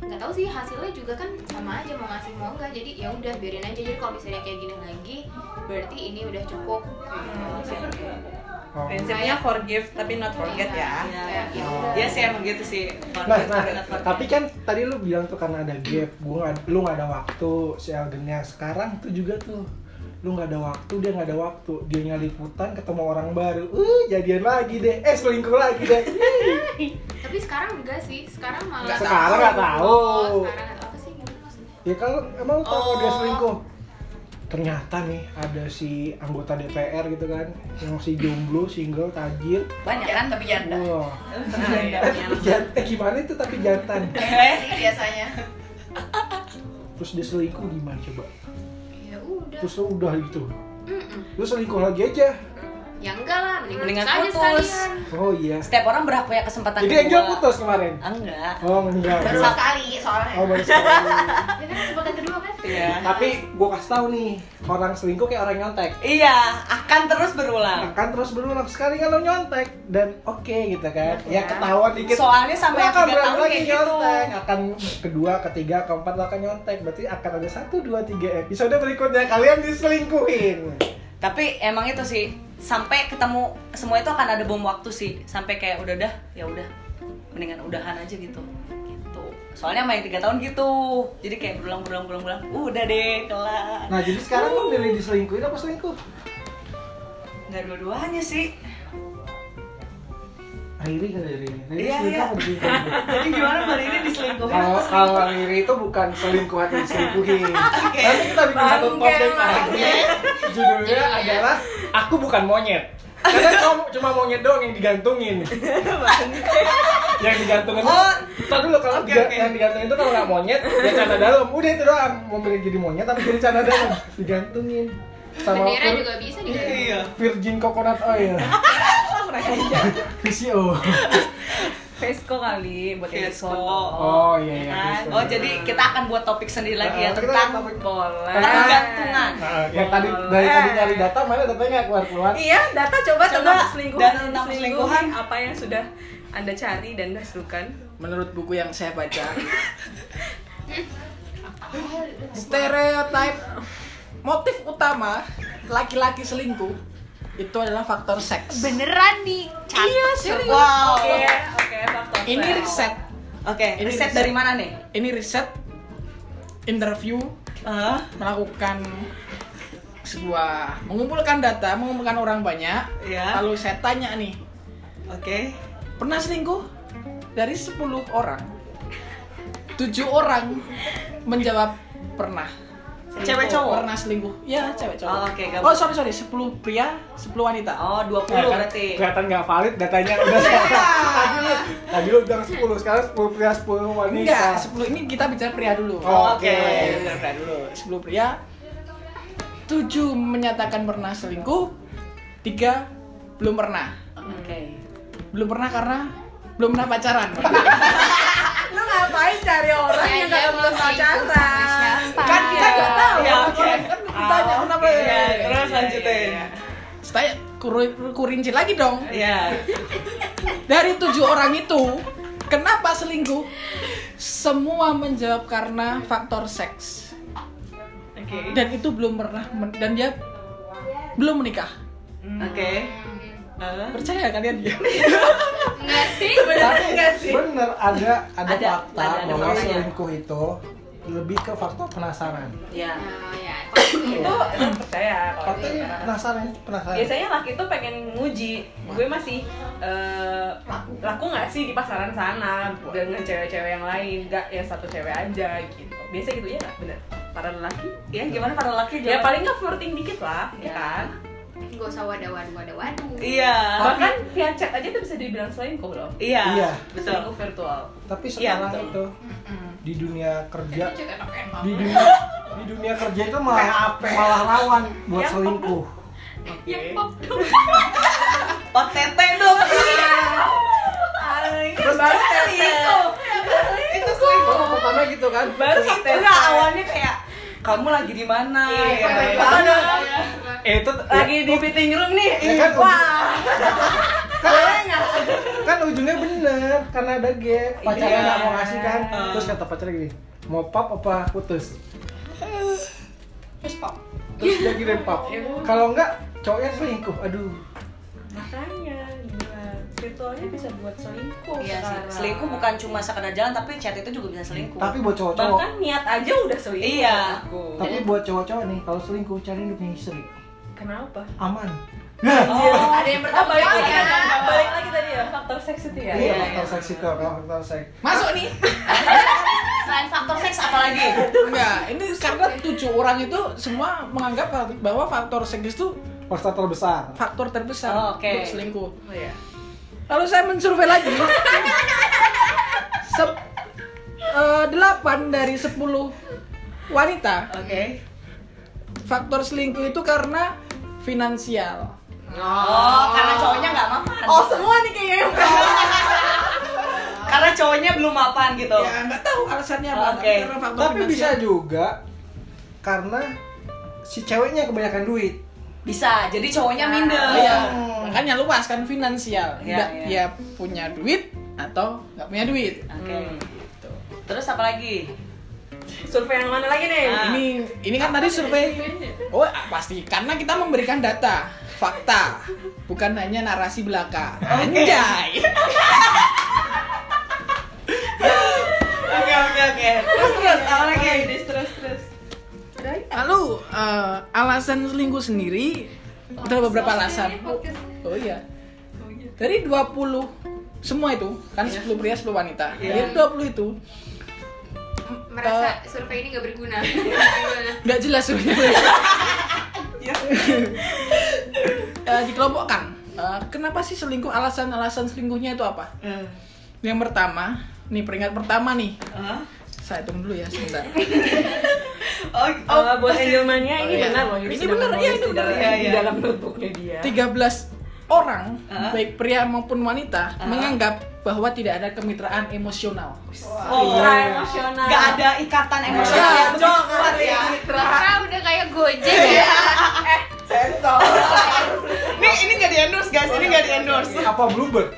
[SPEAKER 4] nggak tahu sih hasilnya juga kan sama aja mau ngasih mau nggak jadi ya udah biarin aja jadi kalau misalnya kayak gini lagi berarti ini udah cukup gitu.
[SPEAKER 2] Oh.
[SPEAKER 3] Prinsipnya forgive tapi not forget ya.
[SPEAKER 1] Iya.
[SPEAKER 4] Kayak, ya udah.
[SPEAKER 1] Iya sih emang gitu sih.
[SPEAKER 2] Nah, nah, tapi kan tadi lu bilang tuh karena ada gap, gua nggak- lu nggak ada waktu, si Elgennya sekarang tuh juga tuh lu nggak ada waktu, dia nggak ada waktu, dia nyaliputan ketemu orang baru, uh jadian lagi deh, eh selingkuh lagi deh,
[SPEAKER 4] tapi sekarang enggak sih sekarang malah
[SPEAKER 5] Nggak
[SPEAKER 2] sekarang nggak tahu.
[SPEAKER 4] Oh, sekarang nggak tahu apa sih gimana maksudnya
[SPEAKER 2] Ya kalau emang lu tahu kalau dia
[SPEAKER 1] Oh.
[SPEAKER 2] selingkuh. Ternyata nih ada si anggota DPR gitu kan, yang si jomblo, single, tajir.
[SPEAKER 6] Banyak kan tapi janda.
[SPEAKER 2] Wah,
[SPEAKER 3] Nah,
[SPEAKER 2] tapi jantan, [LAUGHS] eh, gimana itu tapi jantan.
[SPEAKER 1] Eh?
[SPEAKER 6] [LAUGHS] Sih biasanya.
[SPEAKER 2] Terus dia selingkuh gimana coba?
[SPEAKER 4] ya udah
[SPEAKER 2] Terus lu udah gitu,
[SPEAKER 4] Mm-mm.
[SPEAKER 2] lu selingkuh lagi aja.
[SPEAKER 4] ya enggak lah mending
[SPEAKER 1] Mendingan
[SPEAKER 4] putus aja
[SPEAKER 1] putus.
[SPEAKER 4] sekalian
[SPEAKER 2] Oh iya.
[SPEAKER 1] Setiap orang berhak punya kesempatan
[SPEAKER 2] Jadi Angel putus kemarin.
[SPEAKER 1] Enggak.
[SPEAKER 2] Oh enggak.
[SPEAKER 6] Baru sekali soalnya.
[SPEAKER 2] Oh baru sekali.
[SPEAKER 1] [LAUGHS]
[SPEAKER 4] ya kan kesempatan kedua kan
[SPEAKER 1] Iya.
[SPEAKER 2] Tapi gue kasih tahu nih, orang selingkuh kayak orang nyontek.
[SPEAKER 1] Iya, akan terus berulang.
[SPEAKER 2] Akan terus berulang sekali kalau nyontek dan oke gitu kan. Ya
[SPEAKER 1] Ya.
[SPEAKER 2] ketahuan dikit.
[SPEAKER 1] Soalnya
[SPEAKER 2] Lu
[SPEAKER 1] sampai yang
[SPEAKER 2] akan
[SPEAKER 1] tiga
[SPEAKER 2] berapa
[SPEAKER 1] tahun
[SPEAKER 2] lagi
[SPEAKER 1] kayak gitu.
[SPEAKER 2] nyontek akan kedua ketiga keempat lo akan nyontek berarti akan ada satu dua tiga episode berikutnya kalian diselingkuhin
[SPEAKER 1] Tapi emang itu sih sampai ketemu semua itu akan ada bom waktu sih sampai kayak udah dah ya udah mendingan udahan aja gitu gitu soalnya main tiga tahun gitu jadi kayak berulang berulang berulang berulang udah deh kelar
[SPEAKER 2] nah jadi sekarang lo milih diselingkuhin apa selingkuh
[SPEAKER 1] nggak dua-duanya sih [LAUGHS]
[SPEAKER 2] Riri kan dari Riri Riri
[SPEAKER 1] Iya,
[SPEAKER 2] selingkuh
[SPEAKER 1] iya.
[SPEAKER 2] apa diselingkuhin?
[SPEAKER 1] jadi gimana mbak ini diselingkuhin
[SPEAKER 2] kalau
[SPEAKER 1] atau selingkuh?
[SPEAKER 2] kalau Riri itu bukan selingkuh atau
[SPEAKER 1] [LAUGHS]
[SPEAKER 2] diselingkuhin nanti kita bikin satu topik aja
[SPEAKER 1] Iya,
[SPEAKER 2] judulnya adalah aku bukan monyet karena kamu cuma monyet doang yang
[SPEAKER 1] [LAUGHS]
[SPEAKER 2] digantungin yang digantungin
[SPEAKER 1] Oh.
[SPEAKER 2] Ntar dulu kalau
[SPEAKER 1] Oke,
[SPEAKER 2] diga-
[SPEAKER 1] oke.
[SPEAKER 2] yang digantungin itu kalau nggak monyet ya cana dalam udah itu doang mau milih jadi monyet tapi jadi cana dalam digantungin sama
[SPEAKER 4] bendera
[SPEAKER 2] vir-
[SPEAKER 4] juga bisa di
[SPEAKER 1] iya
[SPEAKER 2] virgin coconut oil
[SPEAKER 1] [LAUGHS]
[SPEAKER 2] VCO
[SPEAKER 3] Fesco kali buat yang
[SPEAKER 1] Fesco.
[SPEAKER 3] diskon.
[SPEAKER 2] oh iya iya
[SPEAKER 3] kan?
[SPEAKER 2] VCO.
[SPEAKER 1] oh jadi kita akan buat topik sendiri lagi ya
[SPEAKER 2] Nah, kita
[SPEAKER 1] tentang
[SPEAKER 2] topik-
[SPEAKER 3] Boleh.
[SPEAKER 1] pergantungan
[SPEAKER 2] Nah, yang tadi dari
[SPEAKER 1] Eh.
[SPEAKER 2] tadi nyari data mana datanya nggak keluar keluar
[SPEAKER 3] Iya, data coba, tentang perselingkuhan.
[SPEAKER 1] data tentang perselingkuhan.
[SPEAKER 3] apa yang sudah Anda cari dan hasilkan.
[SPEAKER 5] Menurut buku yang saya baca, stereotip motif utama laki-laki selingkuh itu adalah faktor seks.
[SPEAKER 4] beneran nih cantik
[SPEAKER 5] Iya, serius.
[SPEAKER 1] wow
[SPEAKER 3] Oke,
[SPEAKER 1] oke
[SPEAKER 3] oke, faktor.
[SPEAKER 5] Ini riset, Ini
[SPEAKER 1] riset
[SPEAKER 5] riset.
[SPEAKER 1] dari mana nih
[SPEAKER 5] ini riset interview
[SPEAKER 1] Hah?
[SPEAKER 5] melakukan sebuah mengumpulkan data, mengumpulkan orang banyak.
[SPEAKER 1] Iya.
[SPEAKER 5] Lalu saya tanya nih,
[SPEAKER 1] oke
[SPEAKER 5] pernah selingkuh? Dari 10 orang, 7 orang menjawab pernah.
[SPEAKER 1] Cewek
[SPEAKER 5] Selingkuh,
[SPEAKER 1] cowok?
[SPEAKER 5] Pernah selingkuh. Ya, cewek cowok.
[SPEAKER 1] Oh, oke, gabung.
[SPEAKER 5] oh, sorry sorry, 10 pria, 10 wanita.
[SPEAKER 1] oh 20
[SPEAKER 2] Nah, kan
[SPEAKER 1] berarti
[SPEAKER 2] kelihatan nggak valid [LAUGHS] datanya udah tadi lu tadi lu bilang 10 sekarang 10 pria 10 wanita
[SPEAKER 5] Enggak, 10 ini kita bicara pria dulu.
[SPEAKER 1] Oh, oke.
[SPEAKER 5] Kita bicara pria dulu. 10 pria 7 menyatakan pernah selingkuh, 3 belum pernah.
[SPEAKER 1] oke
[SPEAKER 5] Belum pernah karena belum pernah [LAUGHS] pacaran.
[SPEAKER 3] Lu ngapain cari orang yang
[SPEAKER 4] Kayaknya
[SPEAKER 3] kagak belum
[SPEAKER 4] selingkuh sama
[SPEAKER 3] pacaran?
[SPEAKER 4] siapa.
[SPEAKER 5] kan kita enggak Kan tahu.
[SPEAKER 1] Ya, Ah, oke.
[SPEAKER 5] Kan tanya kenapa ya?
[SPEAKER 1] Iya, terus lanjutin.
[SPEAKER 5] iya. Terus tanya kuru- kurinci lagi dong.
[SPEAKER 1] Iya.
[SPEAKER 5] Dari tujuh orang itu, kenapa selingkuh? Semua menjawab karena faktor seks.
[SPEAKER 1] Oke.
[SPEAKER 5] Dan itu belum pernah men- dan dia belum menikah.
[SPEAKER 3] Hmm.
[SPEAKER 1] Oke. Eh,
[SPEAKER 5] Percaya kalian ya?
[SPEAKER 4] Enggak sih.
[SPEAKER 2] Tapi
[SPEAKER 1] enggak sih?
[SPEAKER 2] bener ada ada,
[SPEAKER 1] Ada,
[SPEAKER 2] fakta
[SPEAKER 1] ada- ada
[SPEAKER 2] bahwa
[SPEAKER 1] faktanya.
[SPEAKER 2] selingkuh itu lebih ke faktor penasaran.
[SPEAKER 1] Iya.
[SPEAKER 4] Oh ya, kalau
[SPEAKER 3] itu emang percaya
[SPEAKER 1] Oh,
[SPEAKER 3] kalau
[SPEAKER 2] Faktanya
[SPEAKER 3] dia-
[SPEAKER 2] penasaran itu
[SPEAKER 1] Ah.
[SPEAKER 2] penasaran.
[SPEAKER 1] Iya,
[SPEAKER 3] biasanya laki tuh pengen nguji gue masih eh, laku nggak sih di pasaran sana dengan cewek-cewek yang lain nggak ya satu cewek aja gitu biasa gitu ya nggak bener para lelaki
[SPEAKER 1] Ya, gimana para laki
[SPEAKER 3] ya paling nggak flirting dikit lah ya
[SPEAKER 4] Ya.
[SPEAKER 3] kan
[SPEAKER 4] Gak usah wadah-wadah-wadah-waduh.
[SPEAKER 1] Iya.
[SPEAKER 3] bahkan via chat aja tuh bisa dibilang selingkuh loh
[SPEAKER 1] Iya.
[SPEAKER 2] Iya.
[SPEAKER 3] selingkuh virtual
[SPEAKER 2] Tapi
[SPEAKER 1] Iya,
[SPEAKER 2] sekarang
[SPEAKER 1] betul.
[SPEAKER 2] itu di dunia kerja
[SPEAKER 6] Itu juga enak-enak.
[SPEAKER 2] Ya. di dunia di dunia kerja itu malah malah rawan
[SPEAKER 1] Ya
[SPEAKER 2] buat
[SPEAKER 3] Yang-
[SPEAKER 2] selingkuh.
[SPEAKER 6] Yang
[SPEAKER 3] Ya,
[SPEAKER 6] pop dong.
[SPEAKER 1] OTT dong.
[SPEAKER 3] terus
[SPEAKER 1] Iya,
[SPEAKER 3] baru selingkuh
[SPEAKER 1] Itu selingkuh.
[SPEAKER 2] Pertama gitu kan.
[SPEAKER 3] baru
[SPEAKER 1] Enggak awalnya kayak kamu lagi di mana?
[SPEAKER 3] Iya,
[SPEAKER 1] Ya,
[SPEAKER 3] kayak
[SPEAKER 1] kan?
[SPEAKER 3] gitu.
[SPEAKER 2] Eh, itu
[SPEAKER 3] lagi di fitting room nih
[SPEAKER 2] Ya kan,
[SPEAKER 3] wah
[SPEAKER 2] kan ujungnya bener karena ada gap pacarnya
[SPEAKER 1] Iya.
[SPEAKER 2] nggak mau ngasih kan
[SPEAKER 1] Hmm.
[SPEAKER 2] terus kata pacarnya gini mau pap apa putus
[SPEAKER 6] Terus pop.
[SPEAKER 2] terus dia kirim pap kalau enggak cowoknya selingkuh aduh
[SPEAKER 3] makanya gila virtualnya bisa buat selingkuh
[SPEAKER 1] Iya,
[SPEAKER 3] sekarang.
[SPEAKER 1] selingkuh bukan cuma sekedar jalan tapi chat itu juga bisa selingkuh.
[SPEAKER 2] tapi buat cowok-cowok
[SPEAKER 3] bahkan niat aja udah selingkuh
[SPEAKER 1] Iya.
[SPEAKER 3] menurutku.
[SPEAKER 2] tapi buat cowok-cowok nih kalau selingkuh cari lebih istri
[SPEAKER 3] kenapa
[SPEAKER 2] aman ya
[SPEAKER 1] Oh,
[SPEAKER 6] Ada yang
[SPEAKER 3] Ah,
[SPEAKER 6] bertanggung
[SPEAKER 3] balik
[SPEAKER 6] jawab
[SPEAKER 3] lagi
[SPEAKER 6] ya.
[SPEAKER 3] kan? balik lagi tadi ya faktor seks itu ya
[SPEAKER 2] iya faktor seks itu kalau faktor seks
[SPEAKER 5] Masuk nih.
[SPEAKER 6] Selain faktor seks apalagi?
[SPEAKER 1] apalagi
[SPEAKER 5] Enggak, ini karena tujuh orang itu semua menganggap bahwa faktor seks itu
[SPEAKER 2] faktor terbesar
[SPEAKER 5] faktor terbesar
[SPEAKER 1] Oh, oke.
[SPEAKER 5] untuk selingkuh.
[SPEAKER 3] Oh, iya.
[SPEAKER 5] Lalu saya mensurvei lagi. Sep, eh, delapan dari 10 wanita
[SPEAKER 1] Oke.
[SPEAKER 5] faktor selingkuh itu karena finansial.
[SPEAKER 1] Oh, karena cowoknya nggak mapan.
[SPEAKER 3] oh semua nih kayaknya
[SPEAKER 5] Iya,
[SPEAKER 1] Karena cowoknya belum mapan gitu.
[SPEAKER 5] Ya nggak tahu alasannya apa.
[SPEAKER 1] Oke.
[SPEAKER 5] Karena faktor
[SPEAKER 2] tapi
[SPEAKER 5] finansial.
[SPEAKER 2] bisa juga karena si ceweknya kebanyakan duit
[SPEAKER 1] Bisa. Jadi cowoknya minder.
[SPEAKER 5] Iya, makanya luas kan finansial.
[SPEAKER 1] Iya,
[SPEAKER 5] Nggak
[SPEAKER 1] iya.
[SPEAKER 5] dia punya duit atau nggak punya duit.
[SPEAKER 1] Oke.
[SPEAKER 3] Hmm.
[SPEAKER 5] Gitu.
[SPEAKER 1] Terus apa lagi?
[SPEAKER 3] survei yang mana lagi nih
[SPEAKER 1] Ah.
[SPEAKER 5] Ini ini kan tadi survei. Oh pasti karena kita memberikan data, fakta, bukan hanya narasi belaka. Anjay.
[SPEAKER 1] Oke, oke, oke. Terus terus apa lagi?
[SPEAKER 3] terus terus
[SPEAKER 5] Lalu eh, alasan selingkuh sendiri ada beberapa alasan. Oh iya. Dari 20 semua itu kan 10 pria 10 wanita. Dari 20 itu
[SPEAKER 4] Merasa survei ini gak berguna.
[SPEAKER 5] nggak jelas [LAUGHS] sebenarnya. Iya. Eh, dikelompokkan. Eh, kenapa sih selingkuh? Alasan-alasan selingkuhnya itu apa?
[SPEAKER 1] Eh,
[SPEAKER 5] Yang pertama, nih peringat pertama nih.
[SPEAKER 1] ah.
[SPEAKER 5] Saya hitung dulu ya sebentar.
[SPEAKER 1] Oh,
[SPEAKER 3] oh,
[SPEAKER 1] oh,
[SPEAKER 3] buat Angelmania ini
[SPEAKER 5] iya.
[SPEAKER 3] benar loh Yuri
[SPEAKER 5] Ini
[SPEAKER 3] sedang
[SPEAKER 5] benar, iya,
[SPEAKER 3] menulis
[SPEAKER 5] ini
[SPEAKER 3] di
[SPEAKER 5] benar,
[SPEAKER 3] dalam-
[SPEAKER 1] iya,
[SPEAKER 3] di
[SPEAKER 1] iya.
[SPEAKER 3] dalam notebooknya dia
[SPEAKER 5] 13 orang,
[SPEAKER 1] Ah.
[SPEAKER 5] baik pria maupun wanita,
[SPEAKER 1] Ah.
[SPEAKER 5] menganggap bahwa tidak ada kemitraan emosional.
[SPEAKER 1] Oh.
[SPEAKER 3] Mitra Iya. emosional
[SPEAKER 1] Gak ada ikatan emosional
[SPEAKER 5] Iya,
[SPEAKER 1] yang begitu kuat ya.
[SPEAKER 4] Rara udah kayak gojek ya.
[SPEAKER 1] Nih, ini gak di endorse guys, ini gak di endorse.
[SPEAKER 2] apa bluebird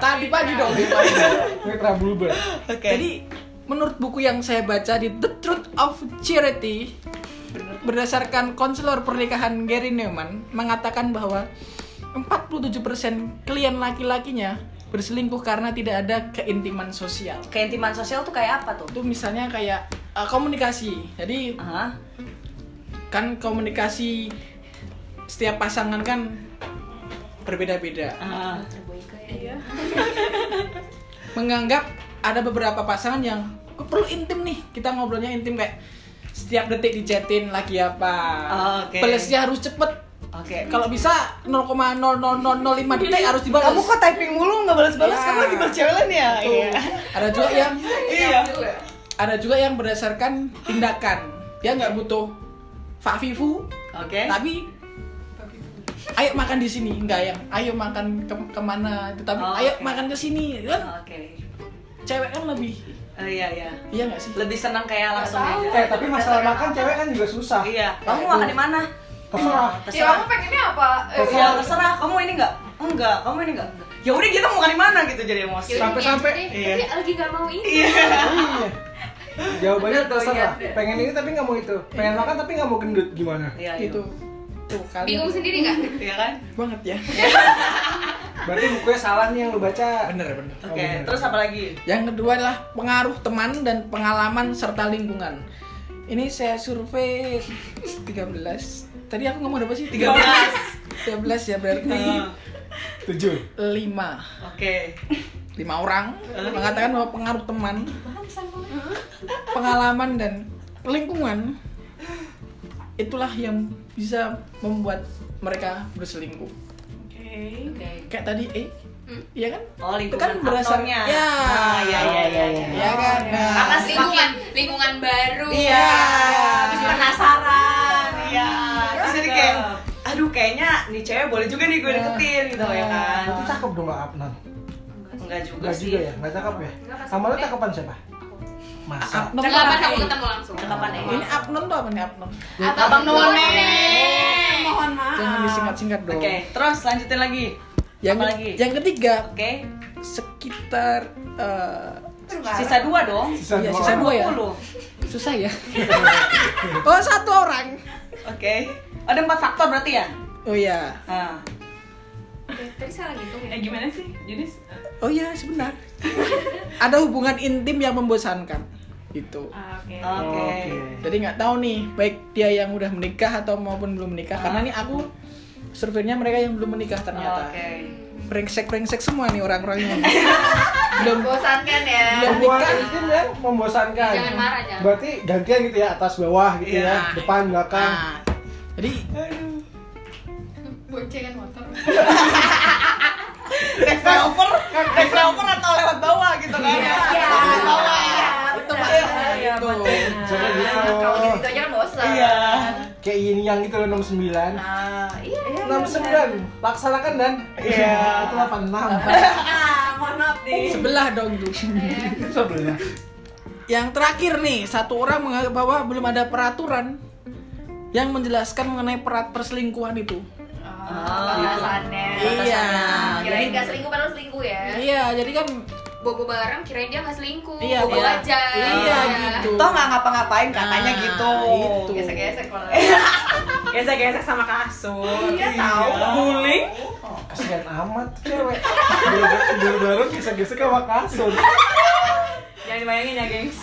[SPEAKER 5] Tadi pagi dong, tadi pagi.
[SPEAKER 2] mitra bluebird
[SPEAKER 1] Oke.
[SPEAKER 5] Jadi menurut buku yang saya baca di The Truth of Charity berdasarkan konselor pernikahan Gary Newman mengatakan bahwa 47% klien laki-lakinya berselingkuh karena tidak ada keintiman sosial.
[SPEAKER 1] keintiman sosial tuh kayak apa tuh?
[SPEAKER 5] Itu misalnya kayak uh, komunikasi. Jadi
[SPEAKER 1] Ah,
[SPEAKER 5] kan komunikasi setiap pasangan kan berbeda-beda.
[SPEAKER 1] ah.
[SPEAKER 5] menganggap ada beberapa pasangan yang "Kok perlu intim nih kita ngobrolnya intim kayak setiap detik dicetin lagi apa
[SPEAKER 1] Oh, oke.
[SPEAKER 5] balesnya harus cepet
[SPEAKER 1] Oke.
[SPEAKER 5] kalau bisa 0,00005 detik harus dibalas
[SPEAKER 1] Kamu kok typing mulu nggak balas-balas?
[SPEAKER 5] Iya.
[SPEAKER 1] Kamu lagi berjalan ya?
[SPEAKER 5] Tuh. ada juga yang
[SPEAKER 1] Iya.
[SPEAKER 5] ada juga yang berdasarkan tindakan dia nggak butuh fafifu
[SPEAKER 1] Oke.
[SPEAKER 5] tapi ayo makan di sini nggak yang ayo makan ke- kemana itu tapi
[SPEAKER 1] Oh,
[SPEAKER 5] ayo
[SPEAKER 1] oke.
[SPEAKER 5] makan ke sini kan
[SPEAKER 1] Oke.
[SPEAKER 5] cewek kan lebih
[SPEAKER 1] Eh, iya iya.
[SPEAKER 5] Iya nggak sih?
[SPEAKER 1] Lebih senang kayak langsung
[SPEAKER 6] tahu.
[SPEAKER 1] aja.
[SPEAKER 2] Eh tapi masalah makan cewek kan juga susah.
[SPEAKER 1] Iya. Kamu makan di mana?
[SPEAKER 2] Terserah.
[SPEAKER 6] Ya
[SPEAKER 1] Terserah.
[SPEAKER 6] kamu pengennya apa? Eh,
[SPEAKER 1] Iya, terserah. Kamu ini enggak? Enggak. Kamu ini enggak? Ya udah kita mau makan di mana gitu jadi emosi.
[SPEAKER 4] Yaudah,
[SPEAKER 2] Sampai-sampai,
[SPEAKER 4] nih,
[SPEAKER 2] iya.
[SPEAKER 4] tapi lagi gak mau ini
[SPEAKER 2] Iya. Jawabannya
[SPEAKER 3] Bener,
[SPEAKER 2] terserah.
[SPEAKER 3] iya.
[SPEAKER 2] Pengen ini tapi nggak mau itu. Pengen makan tapi nggak mau gendut gimana?
[SPEAKER 1] Iya, iya.
[SPEAKER 5] Gitu. Tuh kalian
[SPEAKER 4] bingung sendiri nggak
[SPEAKER 1] Iya kan?
[SPEAKER 5] banget ya.
[SPEAKER 2] Berarti bukunya salah nih yang lu baca.
[SPEAKER 5] Bener bener.
[SPEAKER 1] Oke,
[SPEAKER 2] bener.
[SPEAKER 1] terus apa lagi?
[SPEAKER 5] Yang kedua adalah pengaruh teman dan pengalaman serta lingkungan. Ini saya survei 13. Tadi aku ngomong berapa sih?
[SPEAKER 1] 13.
[SPEAKER 5] 13 ya berarti
[SPEAKER 1] Eh,
[SPEAKER 2] Tujuh.
[SPEAKER 5] 5.
[SPEAKER 1] Oke.
[SPEAKER 5] lima orang mengatakan bahwa pengaruh teman, pengalaman dan lingkungan itulah yang bisa membuat mereka berselingkuh. Kayak tadi, eh,
[SPEAKER 4] Hmm.
[SPEAKER 5] iya kan?
[SPEAKER 1] Oh,
[SPEAKER 5] Itu
[SPEAKER 1] lingkungan
[SPEAKER 5] kan berdasar-
[SPEAKER 1] aktornya.
[SPEAKER 5] Ya.
[SPEAKER 1] Ah, iya, iya, iya, iya.
[SPEAKER 5] Iya kan? Nah,
[SPEAKER 1] Karena sih-
[SPEAKER 4] lingkungan lingkungan baru
[SPEAKER 1] Iya.
[SPEAKER 4] terus penasaran
[SPEAKER 1] Iya. Terus jadi kayak aduh kayaknya nih cewek boleh juga nih gue deketin gitu ya kan.
[SPEAKER 2] Itu cakep dong Kak Apnan.
[SPEAKER 1] Enggak juga
[SPEAKER 2] Enggak
[SPEAKER 1] sih.
[SPEAKER 2] juga ya? Enggak cakep ya?
[SPEAKER 4] Enggak, pasti.
[SPEAKER 2] Sama lu cakepan siapa? Masa?
[SPEAKER 5] Abnon
[SPEAKER 4] nggak apa
[SPEAKER 5] apa
[SPEAKER 4] aku
[SPEAKER 5] nih?
[SPEAKER 4] ketemu langsung
[SPEAKER 1] Cakapan ya.
[SPEAKER 5] Ini Abnon tuh apa nih Abnon?
[SPEAKER 4] abang none
[SPEAKER 3] Mohon maaf.
[SPEAKER 5] Jangan disingkat-singkat
[SPEAKER 1] Ah. Oke,
[SPEAKER 5] dong.
[SPEAKER 1] terus lanjutin lagi.
[SPEAKER 5] Yang,
[SPEAKER 1] apa lagi?
[SPEAKER 5] yang ketiga
[SPEAKER 1] Oke.
[SPEAKER 5] sekitar eh,
[SPEAKER 1] Sisa dua dong.
[SPEAKER 2] Sisa
[SPEAKER 5] Iya,
[SPEAKER 2] dua
[SPEAKER 5] sisa
[SPEAKER 2] orang.
[SPEAKER 5] dua ya?
[SPEAKER 1] 20.
[SPEAKER 5] susah
[SPEAKER 1] [LAUGHS]
[SPEAKER 5] ya. oh satu orang.
[SPEAKER 1] Oke. Ada empat faktor berarti ya?
[SPEAKER 5] Oh ya.
[SPEAKER 1] Nah.
[SPEAKER 4] tadi saya lagi hitung ya
[SPEAKER 3] Eh gimana sih, Junis?
[SPEAKER 5] Oh iya, sebentar. Ada hubungan intim yang membosankan. Gitu.
[SPEAKER 3] Ah, Oke.
[SPEAKER 1] Oke.
[SPEAKER 2] Oke.
[SPEAKER 5] Jadi nggak tahu nih, baik dia yang udah menikah atau maupun belum menikah. Karena nih aku surveinya mereka yang belum menikah
[SPEAKER 1] Oh,
[SPEAKER 5] ternyata.
[SPEAKER 1] Oke.
[SPEAKER 5] Brengsek-brengsek semua nih orang-orangnya. belum
[SPEAKER 4] bosankan ya
[SPEAKER 5] belum
[SPEAKER 2] Hubungan
[SPEAKER 5] nikah.
[SPEAKER 2] intim ya membosankan.
[SPEAKER 4] Jangan marah, jangan.
[SPEAKER 2] Berarti gantian gitu ya atas bawah gitu
[SPEAKER 1] Iya.
[SPEAKER 2] ya, depan belakang.
[SPEAKER 5] Nah, jadi
[SPEAKER 6] boncengan motor.
[SPEAKER 4] Oh.
[SPEAKER 1] Revolver, revolver atau lewat bawah gitu kan? Iya. Lewat bawah.
[SPEAKER 5] itu
[SPEAKER 3] Iya,
[SPEAKER 5] itu.
[SPEAKER 3] betul.
[SPEAKER 2] Coba gitu.
[SPEAKER 6] Kalau gitu gitu aja kan bosan.
[SPEAKER 1] Iya.
[SPEAKER 2] Kayak yin yang gitu loh 69.
[SPEAKER 6] Nah, iya.
[SPEAKER 2] 69 laksanakan dan
[SPEAKER 1] Iya.
[SPEAKER 2] itu 86.
[SPEAKER 3] Ah, mohon maaf nih.
[SPEAKER 5] sebelah dong tuh.
[SPEAKER 2] Sebelah.
[SPEAKER 5] Yang terakhir nih, satu orang menganggap bahwa belum ada peraturan yang menjelaskan mengenai perat perselingkuhan itu.
[SPEAKER 1] Oh,
[SPEAKER 6] Ah, Batasannya.
[SPEAKER 5] Iya.
[SPEAKER 6] Kirain gak selingkuh padahal selingkuh ya.
[SPEAKER 5] Iya, jadi kan
[SPEAKER 4] bobo bareng kirain dia nggak selingkuh
[SPEAKER 5] Iya,
[SPEAKER 4] bobo
[SPEAKER 5] iya.
[SPEAKER 4] aja
[SPEAKER 5] Iya, gitu.
[SPEAKER 1] Toh nggak ngapa-ngapain katanya
[SPEAKER 5] Nah,
[SPEAKER 1] gitu.
[SPEAKER 5] itu.
[SPEAKER 6] Gesek-gesek malah.
[SPEAKER 5] Iya,
[SPEAKER 3] Gesek-gesek sama kasur.
[SPEAKER 6] Iya tahu.
[SPEAKER 1] Guling.
[SPEAKER 2] Kasihan amat tuh cewek. Baru baru gesek-gesek sama kasur.
[SPEAKER 3] Jangan dibayangin ya, gengs.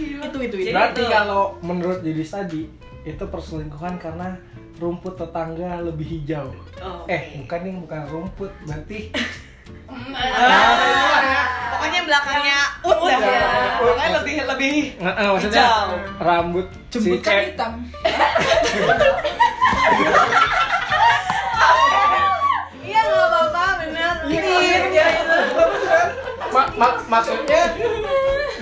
[SPEAKER 5] itu itu itu.
[SPEAKER 3] Jadi
[SPEAKER 2] Berarti
[SPEAKER 3] itu.
[SPEAKER 2] kalau menurut Yudis tadi itu perselingkuhan karena rumput tetangga lebih hijau.
[SPEAKER 1] Oh,
[SPEAKER 2] Eh, bukan nih, bukan rumput. Berarti
[SPEAKER 1] Pokoknya belakangnya ut dah.
[SPEAKER 2] Iya.
[SPEAKER 1] Pokoknya lebih lebih
[SPEAKER 2] Heeh, maksudnya
[SPEAKER 1] hijau.
[SPEAKER 2] rambut
[SPEAKER 5] Jembut
[SPEAKER 2] si
[SPEAKER 5] kan
[SPEAKER 2] cewek-
[SPEAKER 5] hitam.
[SPEAKER 3] Iya, nggak apa-apa, bener.
[SPEAKER 2] Iya, itu. Ma- ma- maksudnya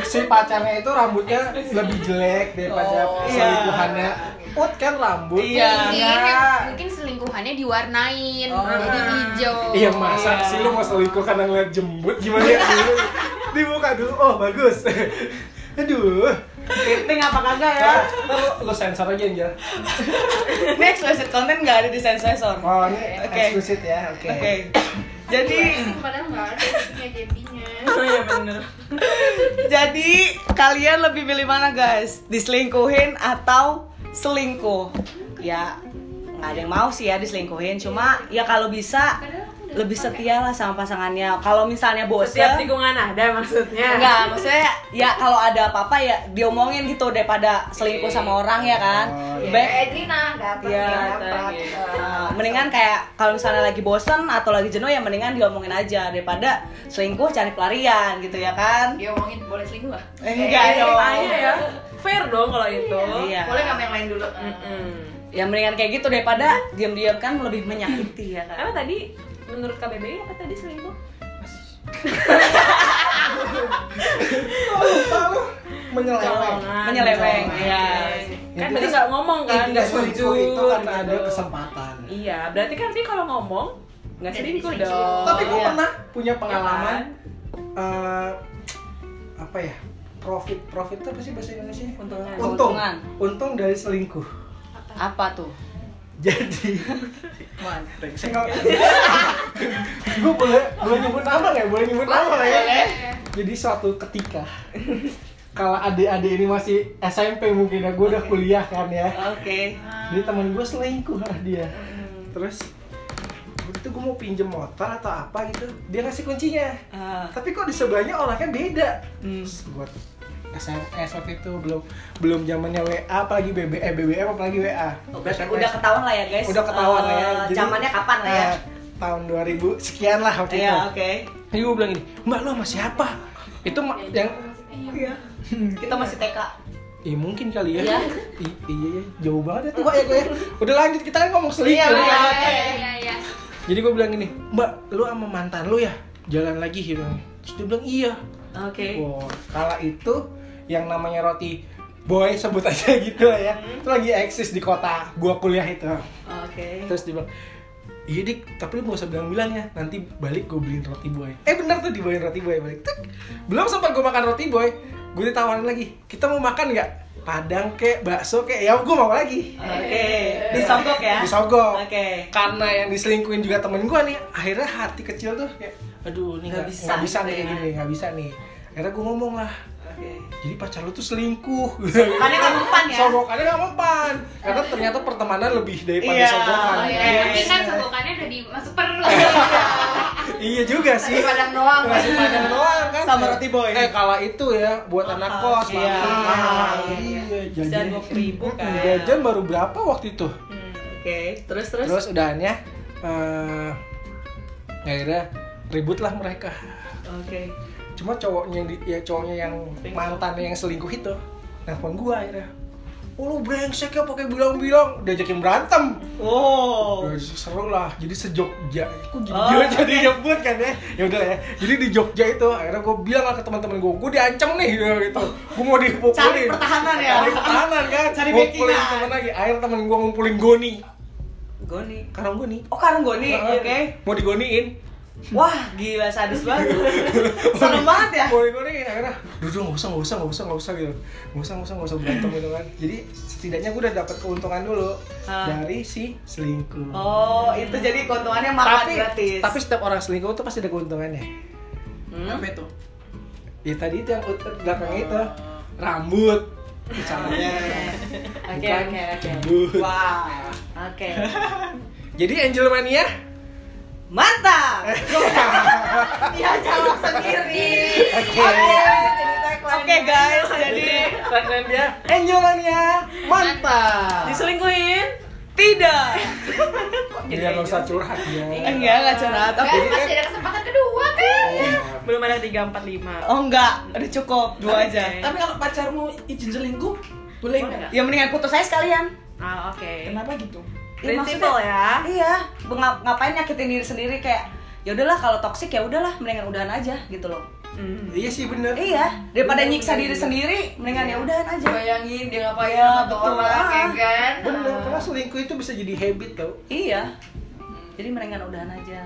[SPEAKER 2] si pacarnya itu rambutnya lebih jelek daripada
[SPEAKER 5] Oh,
[SPEAKER 1] iya.
[SPEAKER 2] selingkuhannya. Ut kan rambut.
[SPEAKER 1] Iya.
[SPEAKER 4] Mungkin, kan
[SPEAKER 2] Enggak.
[SPEAKER 4] mungkin selingkuhannya diwarnain
[SPEAKER 5] Oh.
[SPEAKER 4] jadi hijau
[SPEAKER 2] Iya masa
[SPEAKER 1] Iya.
[SPEAKER 2] sih lu mau selingkuh karena ngeliat jembut gimana ya dulu dibuka dulu oh bagus [LAUGHS] aduh Nah,
[SPEAKER 1] Penting apa kagak
[SPEAKER 3] Iya.
[SPEAKER 1] ya?
[SPEAKER 2] Ntar- ntar lu, lu sensor aja Angel
[SPEAKER 1] Ini explicit content nggak ada di sensor.
[SPEAKER 2] oh ini
[SPEAKER 1] Oke.
[SPEAKER 2] eksplisit ya oke
[SPEAKER 1] Oke. Jadi
[SPEAKER 6] Padahal nggak ada isinya jadinya.
[SPEAKER 3] Oh iya, bener.
[SPEAKER 1] Jadi kalian lebih milih mana guys? Diselingkuhin atau selingkuh? Ya nggak ada yang mau sih ya diselingkuhin. Cuma ya kalau bisa lebih setia lah sama pasangannya. Kalau misalnya bosen,
[SPEAKER 3] Setiap tikungan ada maksudnya.
[SPEAKER 1] enggak maksudnya ya kalau ada apa-apa ya diomongin gitu daripada selingkuh sama orang ya kan.
[SPEAKER 2] Oh,
[SPEAKER 1] Baik,
[SPEAKER 6] Eh, Edrina dapat
[SPEAKER 1] Iya,
[SPEAKER 6] nih, dapat.
[SPEAKER 3] tadi.
[SPEAKER 1] Nah, mendingan kayak kalau misalnya lagi bosen atau lagi jenuh ya mendingan diomongin aja daripada selingkuh cari pelarian gitu ya kan?
[SPEAKER 6] Dia omongin boleh selingkuh nggak?
[SPEAKER 1] Enggak
[SPEAKER 3] Eh,
[SPEAKER 1] dong.
[SPEAKER 3] tanya ya. Fair dong kalau itu.
[SPEAKER 1] Iya.
[SPEAKER 6] Boleh nggak yang lain dulu?
[SPEAKER 3] Mm-mm.
[SPEAKER 1] Ya mendingan kayak gitu daripada diam-diam kan lebih menyakiti ya kan.
[SPEAKER 3] Karena tadi menurut KBBI apa tadi selingkuh?
[SPEAKER 2] lupa lu menyeleweng
[SPEAKER 3] Colongan.
[SPEAKER 1] Menyeleweng,
[SPEAKER 3] Colongan.
[SPEAKER 1] iya.
[SPEAKER 3] Kan
[SPEAKER 2] Itu
[SPEAKER 3] tadi nggak ngomong kan?
[SPEAKER 2] Intinya
[SPEAKER 3] nggak
[SPEAKER 2] selingkuh itu
[SPEAKER 3] jujur,
[SPEAKER 2] karena ada
[SPEAKER 3] gitu.
[SPEAKER 2] kesempatan
[SPEAKER 3] Iya, berarti kan dia kalau ngomong nggak
[SPEAKER 6] Jadi
[SPEAKER 3] selingkuh
[SPEAKER 6] selingkuh.
[SPEAKER 3] dong.
[SPEAKER 2] tapi gue
[SPEAKER 1] iya.
[SPEAKER 2] pernah punya pengalaman eh apa ya profit profit itu apa sih bahasa Indonesia
[SPEAKER 3] Untungnya.
[SPEAKER 2] untung
[SPEAKER 1] Keuntungan.
[SPEAKER 2] untung dari selingkuh [LAUGHS]
[SPEAKER 1] iya. Apa tuh?
[SPEAKER 2] jadi [LAUGHS]
[SPEAKER 5] manteng
[SPEAKER 2] saya nggak gue boleh boleh nyebut nama nggak ya? boleh nyebut nama nggak ya jadi suatu ketika kalau adik-adik ini masih SMP mungkin ya gue udah kuliah kan ya
[SPEAKER 1] Oke.
[SPEAKER 2] jadi temen gue selingkuh lah dia terus waktu itu gue mau pinjem motor atau apa gitu dia ngasih kuncinya
[SPEAKER 1] Ah,
[SPEAKER 2] tapi kok di sebelahnya orangnya beda
[SPEAKER 1] Hmm.
[SPEAKER 2] terus gue SMS waktu itu belum belum zamannya WA apalagi BBM eh, BBM apalagi WA
[SPEAKER 1] udah- Oh, udah ketahuan lah ya guys.
[SPEAKER 2] udah ketahuan lah ya
[SPEAKER 1] Eh,
[SPEAKER 2] Jadi,
[SPEAKER 1] Zamannya kapan lah ya?
[SPEAKER 2] eh, tahun 2000 sekian lah waktu
[SPEAKER 1] Iya,
[SPEAKER 2] itu
[SPEAKER 1] oke.
[SPEAKER 2] jadi gue bilang ini mbak lo sama siapa itu ma-
[SPEAKER 1] Iya.
[SPEAKER 2] yang
[SPEAKER 1] Kita masih TK.
[SPEAKER 2] Ih mungkin kali ya.
[SPEAKER 1] Iya.
[SPEAKER 2] I- iya, iya, jauh banget ya tua ya gue. Udah lanjut kita kan ngomong
[SPEAKER 1] Iya,
[SPEAKER 2] selingkuh. ya.
[SPEAKER 1] iya.
[SPEAKER 4] iya iya
[SPEAKER 2] Jadi gue bilang gini, "Mbak, lu sama mantan lu ya? Jalan lagi," dia bilang. Terus dia bilang, "Iya."
[SPEAKER 1] Oke.
[SPEAKER 2] Wah, kala itu yang namanya roti boy sebut aja [LAUGHS] gitu lah ya.
[SPEAKER 1] Hmm.
[SPEAKER 2] Itu lagi eksis di kota gua kuliah itu.
[SPEAKER 1] Oke.
[SPEAKER 2] Terus dia bilang, Iya dik, tapi lu gak usah bilang-bilang ya Nanti balik gue beliin roti boy Eh bener tuh dibawain roti boy balik Tuk. Belum sempat gue makan roti boy Gue ditawarin lagi Kita mau makan gak? Padang kek, bakso kek Ya gue mau lagi
[SPEAKER 1] Oke. Disogok ya.
[SPEAKER 2] Disogok.
[SPEAKER 1] Oke.
[SPEAKER 2] Karena yang diselingkuin juga temen gue nih Akhirnya hati kecil tuh kayak Aduh nih
[SPEAKER 1] Nggak
[SPEAKER 2] gak,
[SPEAKER 1] bisa
[SPEAKER 2] bisa, bisa
[SPEAKER 1] gitu ya.
[SPEAKER 2] nih gini, gak bisa nih Akhirnya gue ngomong lah
[SPEAKER 1] Oke.
[SPEAKER 2] jadi pacar lu tuh selingkuh
[SPEAKER 1] Karena nggak mempan ya?
[SPEAKER 2] Sogokannya gak mempan Karena ternyata pertemanan lebih daripada
[SPEAKER 1] Iya.
[SPEAKER 2] sogokan
[SPEAKER 4] oh iya
[SPEAKER 1] Yes.
[SPEAKER 4] tapi kan sogokannya udah dimasuk perut
[SPEAKER 2] Iya juga sih
[SPEAKER 1] Padang doang.
[SPEAKER 2] nasi padang doang kan
[SPEAKER 1] Sama roti boy.
[SPEAKER 2] eh kala itu ya buat anak kos
[SPEAKER 1] iya.
[SPEAKER 2] mahal.
[SPEAKER 1] Mahal, iya.
[SPEAKER 2] iya
[SPEAKER 1] Bisa
[SPEAKER 2] jajan
[SPEAKER 1] 20.000 kan.
[SPEAKER 2] jajan baru berapa waktu itu
[SPEAKER 1] Hmm, Oke. Terus terus.
[SPEAKER 2] terus udahannya eh ya akhirnya ribut lah mereka
[SPEAKER 1] Oke.
[SPEAKER 2] cuma cowoknya yang di- ya cowoknya yang mantannya yang selingkuh itu nelfon gua akhirnya Oh lu brengsek ya pakai bilang-bilang diajakin berantem
[SPEAKER 1] Oh.
[SPEAKER 2] Ya, seru lah jadi sejogja kok jadi
[SPEAKER 1] Oh,
[SPEAKER 2] gua jadi nyebut kan ya ya udah ya jadi di Jogja itu akhirnya gue bilang lah ke teman-teman gue gue diancam nih ya, gitu gue mau dipukulin
[SPEAKER 1] Cari pertahanan ya?
[SPEAKER 2] cari pertahanan kan
[SPEAKER 1] Cari
[SPEAKER 2] ngumpulin
[SPEAKER 1] backingan.
[SPEAKER 2] temen lagi akhirnya temen gue ngumpulin goni
[SPEAKER 1] Goni.
[SPEAKER 2] karena goni Nah,
[SPEAKER 1] Oh karung goni. Oke.
[SPEAKER 2] mau digoniin
[SPEAKER 1] Wah, gila sadis
[SPEAKER 2] [LAUGHS]
[SPEAKER 1] banget. Serem banget ya.
[SPEAKER 2] mau digoniin akhirnya duduk nggak usah nggak usah nggak usah nggak usah gitu nggak usah nggak usah nggak usah berantem gitu kan jadi setidaknya gue udah dapat keuntungan dulu
[SPEAKER 1] Ah.
[SPEAKER 2] dari si selingkuh
[SPEAKER 1] Oh, itu jadi keuntungannya makan
[SPEAKER 2] tapi
[SPEAKER 1] gratis.
[SPEAKER 2] tapi setiap orang selingkuh itu pasti ada keuntungannya
[SPEAKER 1] Hmm?
[SPEAKER 5] apa itu
[SPEAKER 2] Ya tadi itu yang utar belakang itu
[SPEAKER 1] Oh.
[SPEAKER 2] rambut, caranya,
[SPEAKER 1] [LAUGHS] Oke, oke, oke.
[SPEAKER 2] rambut.
[SPEAKER 1] Wah. Oke.
[SPEAKER 2] Jadi
[SPEAKER 1] Iya,
[SPEAKER 2] Angel Mania
[SPEAKER 1] [LAUGHS] Mantap. Iya, jawab sendiri.
[SPEAKER 2] Oke.
[SPEAKER 1] Oke, guys, jadi
[SPEAKER 2] tagline dia Angel Mania mantap.
[SPEAKER 1] diselingkuhin? Tidak. iya.
[SPEAKER 2] Dia nggak usah curhat ya.
[SPEAKER 1] Enggak, enggak curhat. Oke.
[SPEAKER 4] kan masih ada kesempatan kedua kan
[SPEAKER 3] Belum ada 3, 4, 5
[SPEAKER 1] Oh, enggak. Udah cukup dua aja.
[SPEAKER 5] tapi kalau pacarmu izin selingkuh Eh. boleh
[SPEAKER 3] Boleh
[SPEAKER 5] nggak
[SPEAKER 1] Ya mendingan putus saya sekalian.
[SPEAKER 3] Ah oke
[SPEAKER 5] kenapa gitu
[SPEAKER 1] Ya, maksudnya-
[SPEAKER 3] Prinsipal ya.
[SPEAKER 1] Iya, ngap- ngapain nyakitin diri sendiri kayak ya udahlah kalau toksik ya udahlah mendingan udahan aja gitu loh.
[SPEAKER 3] Hmm.
[SPEAKER 2] Iya sih bener.
[SPEAKER 1] Iya, daripada nyiksa diri sendiri mendingan ya udahan aja.
[SPEAKER 6] bayangin dia ngapain
[SPEAKER 1] Iya,
[SPEAKER 6] sama
[SPEAKER 1] betul.
[SPEAKER 6] orang ya
[SPEAKER 1] Ah.
[SPEAKER 6] kan
[SPEAKER 2] Bener karena selingkuh itu bisa jadi habit tau.
[SPEAKER 1] Iya. Jadi mendingan udahan aja.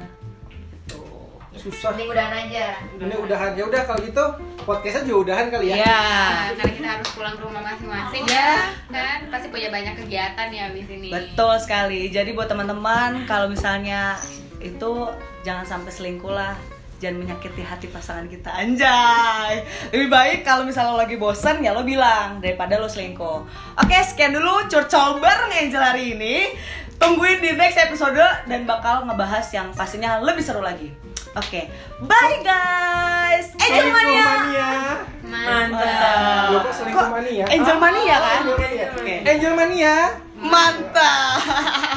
[SPEAKER 2] Susah.
[SPEAKER 6] mending udahan aja
[SPEAKER 2] Ini udahan ya udah kalau gitu podcastnya juga udahan kali ya.
[SPEAKER 4] Nah, karena kita harus pulang ke rumah masing-masing ya kan pasti punya banyak kegiatan ya abis ini
[SPEAKER 1] Betul sekali. Jadi buat teman-teman kalau misalnya itu jangan sampai selingkuh lah. Jangan menyakiti hati pasangan kita Anjay Lebih baik kalau misalnya lo lagi bosen ya lo bilang Daripada lo selingkuh Oke sekian dulu curcol bareng Angel hari ini Tungguin di next episode Dan bakal ngebahas yang pastinya lebih seru lagi Oke Bye guys Angel
[SPEAKER 2] Selingkuh
[SPEAKER 1] Mania
[SPEAKER 2] mania.
[SPEAKER 1] Mantap.
[SPEAKER 2] Loh, kok selingkuh mania?
[SPEAKER 1] Angel Mania kan
[SPEAKER 2] Angel Mania.
[SPEAKER 1] Oke.
[SPEAKER 2] Angel Mania.
[SPEAKER 1] Mantap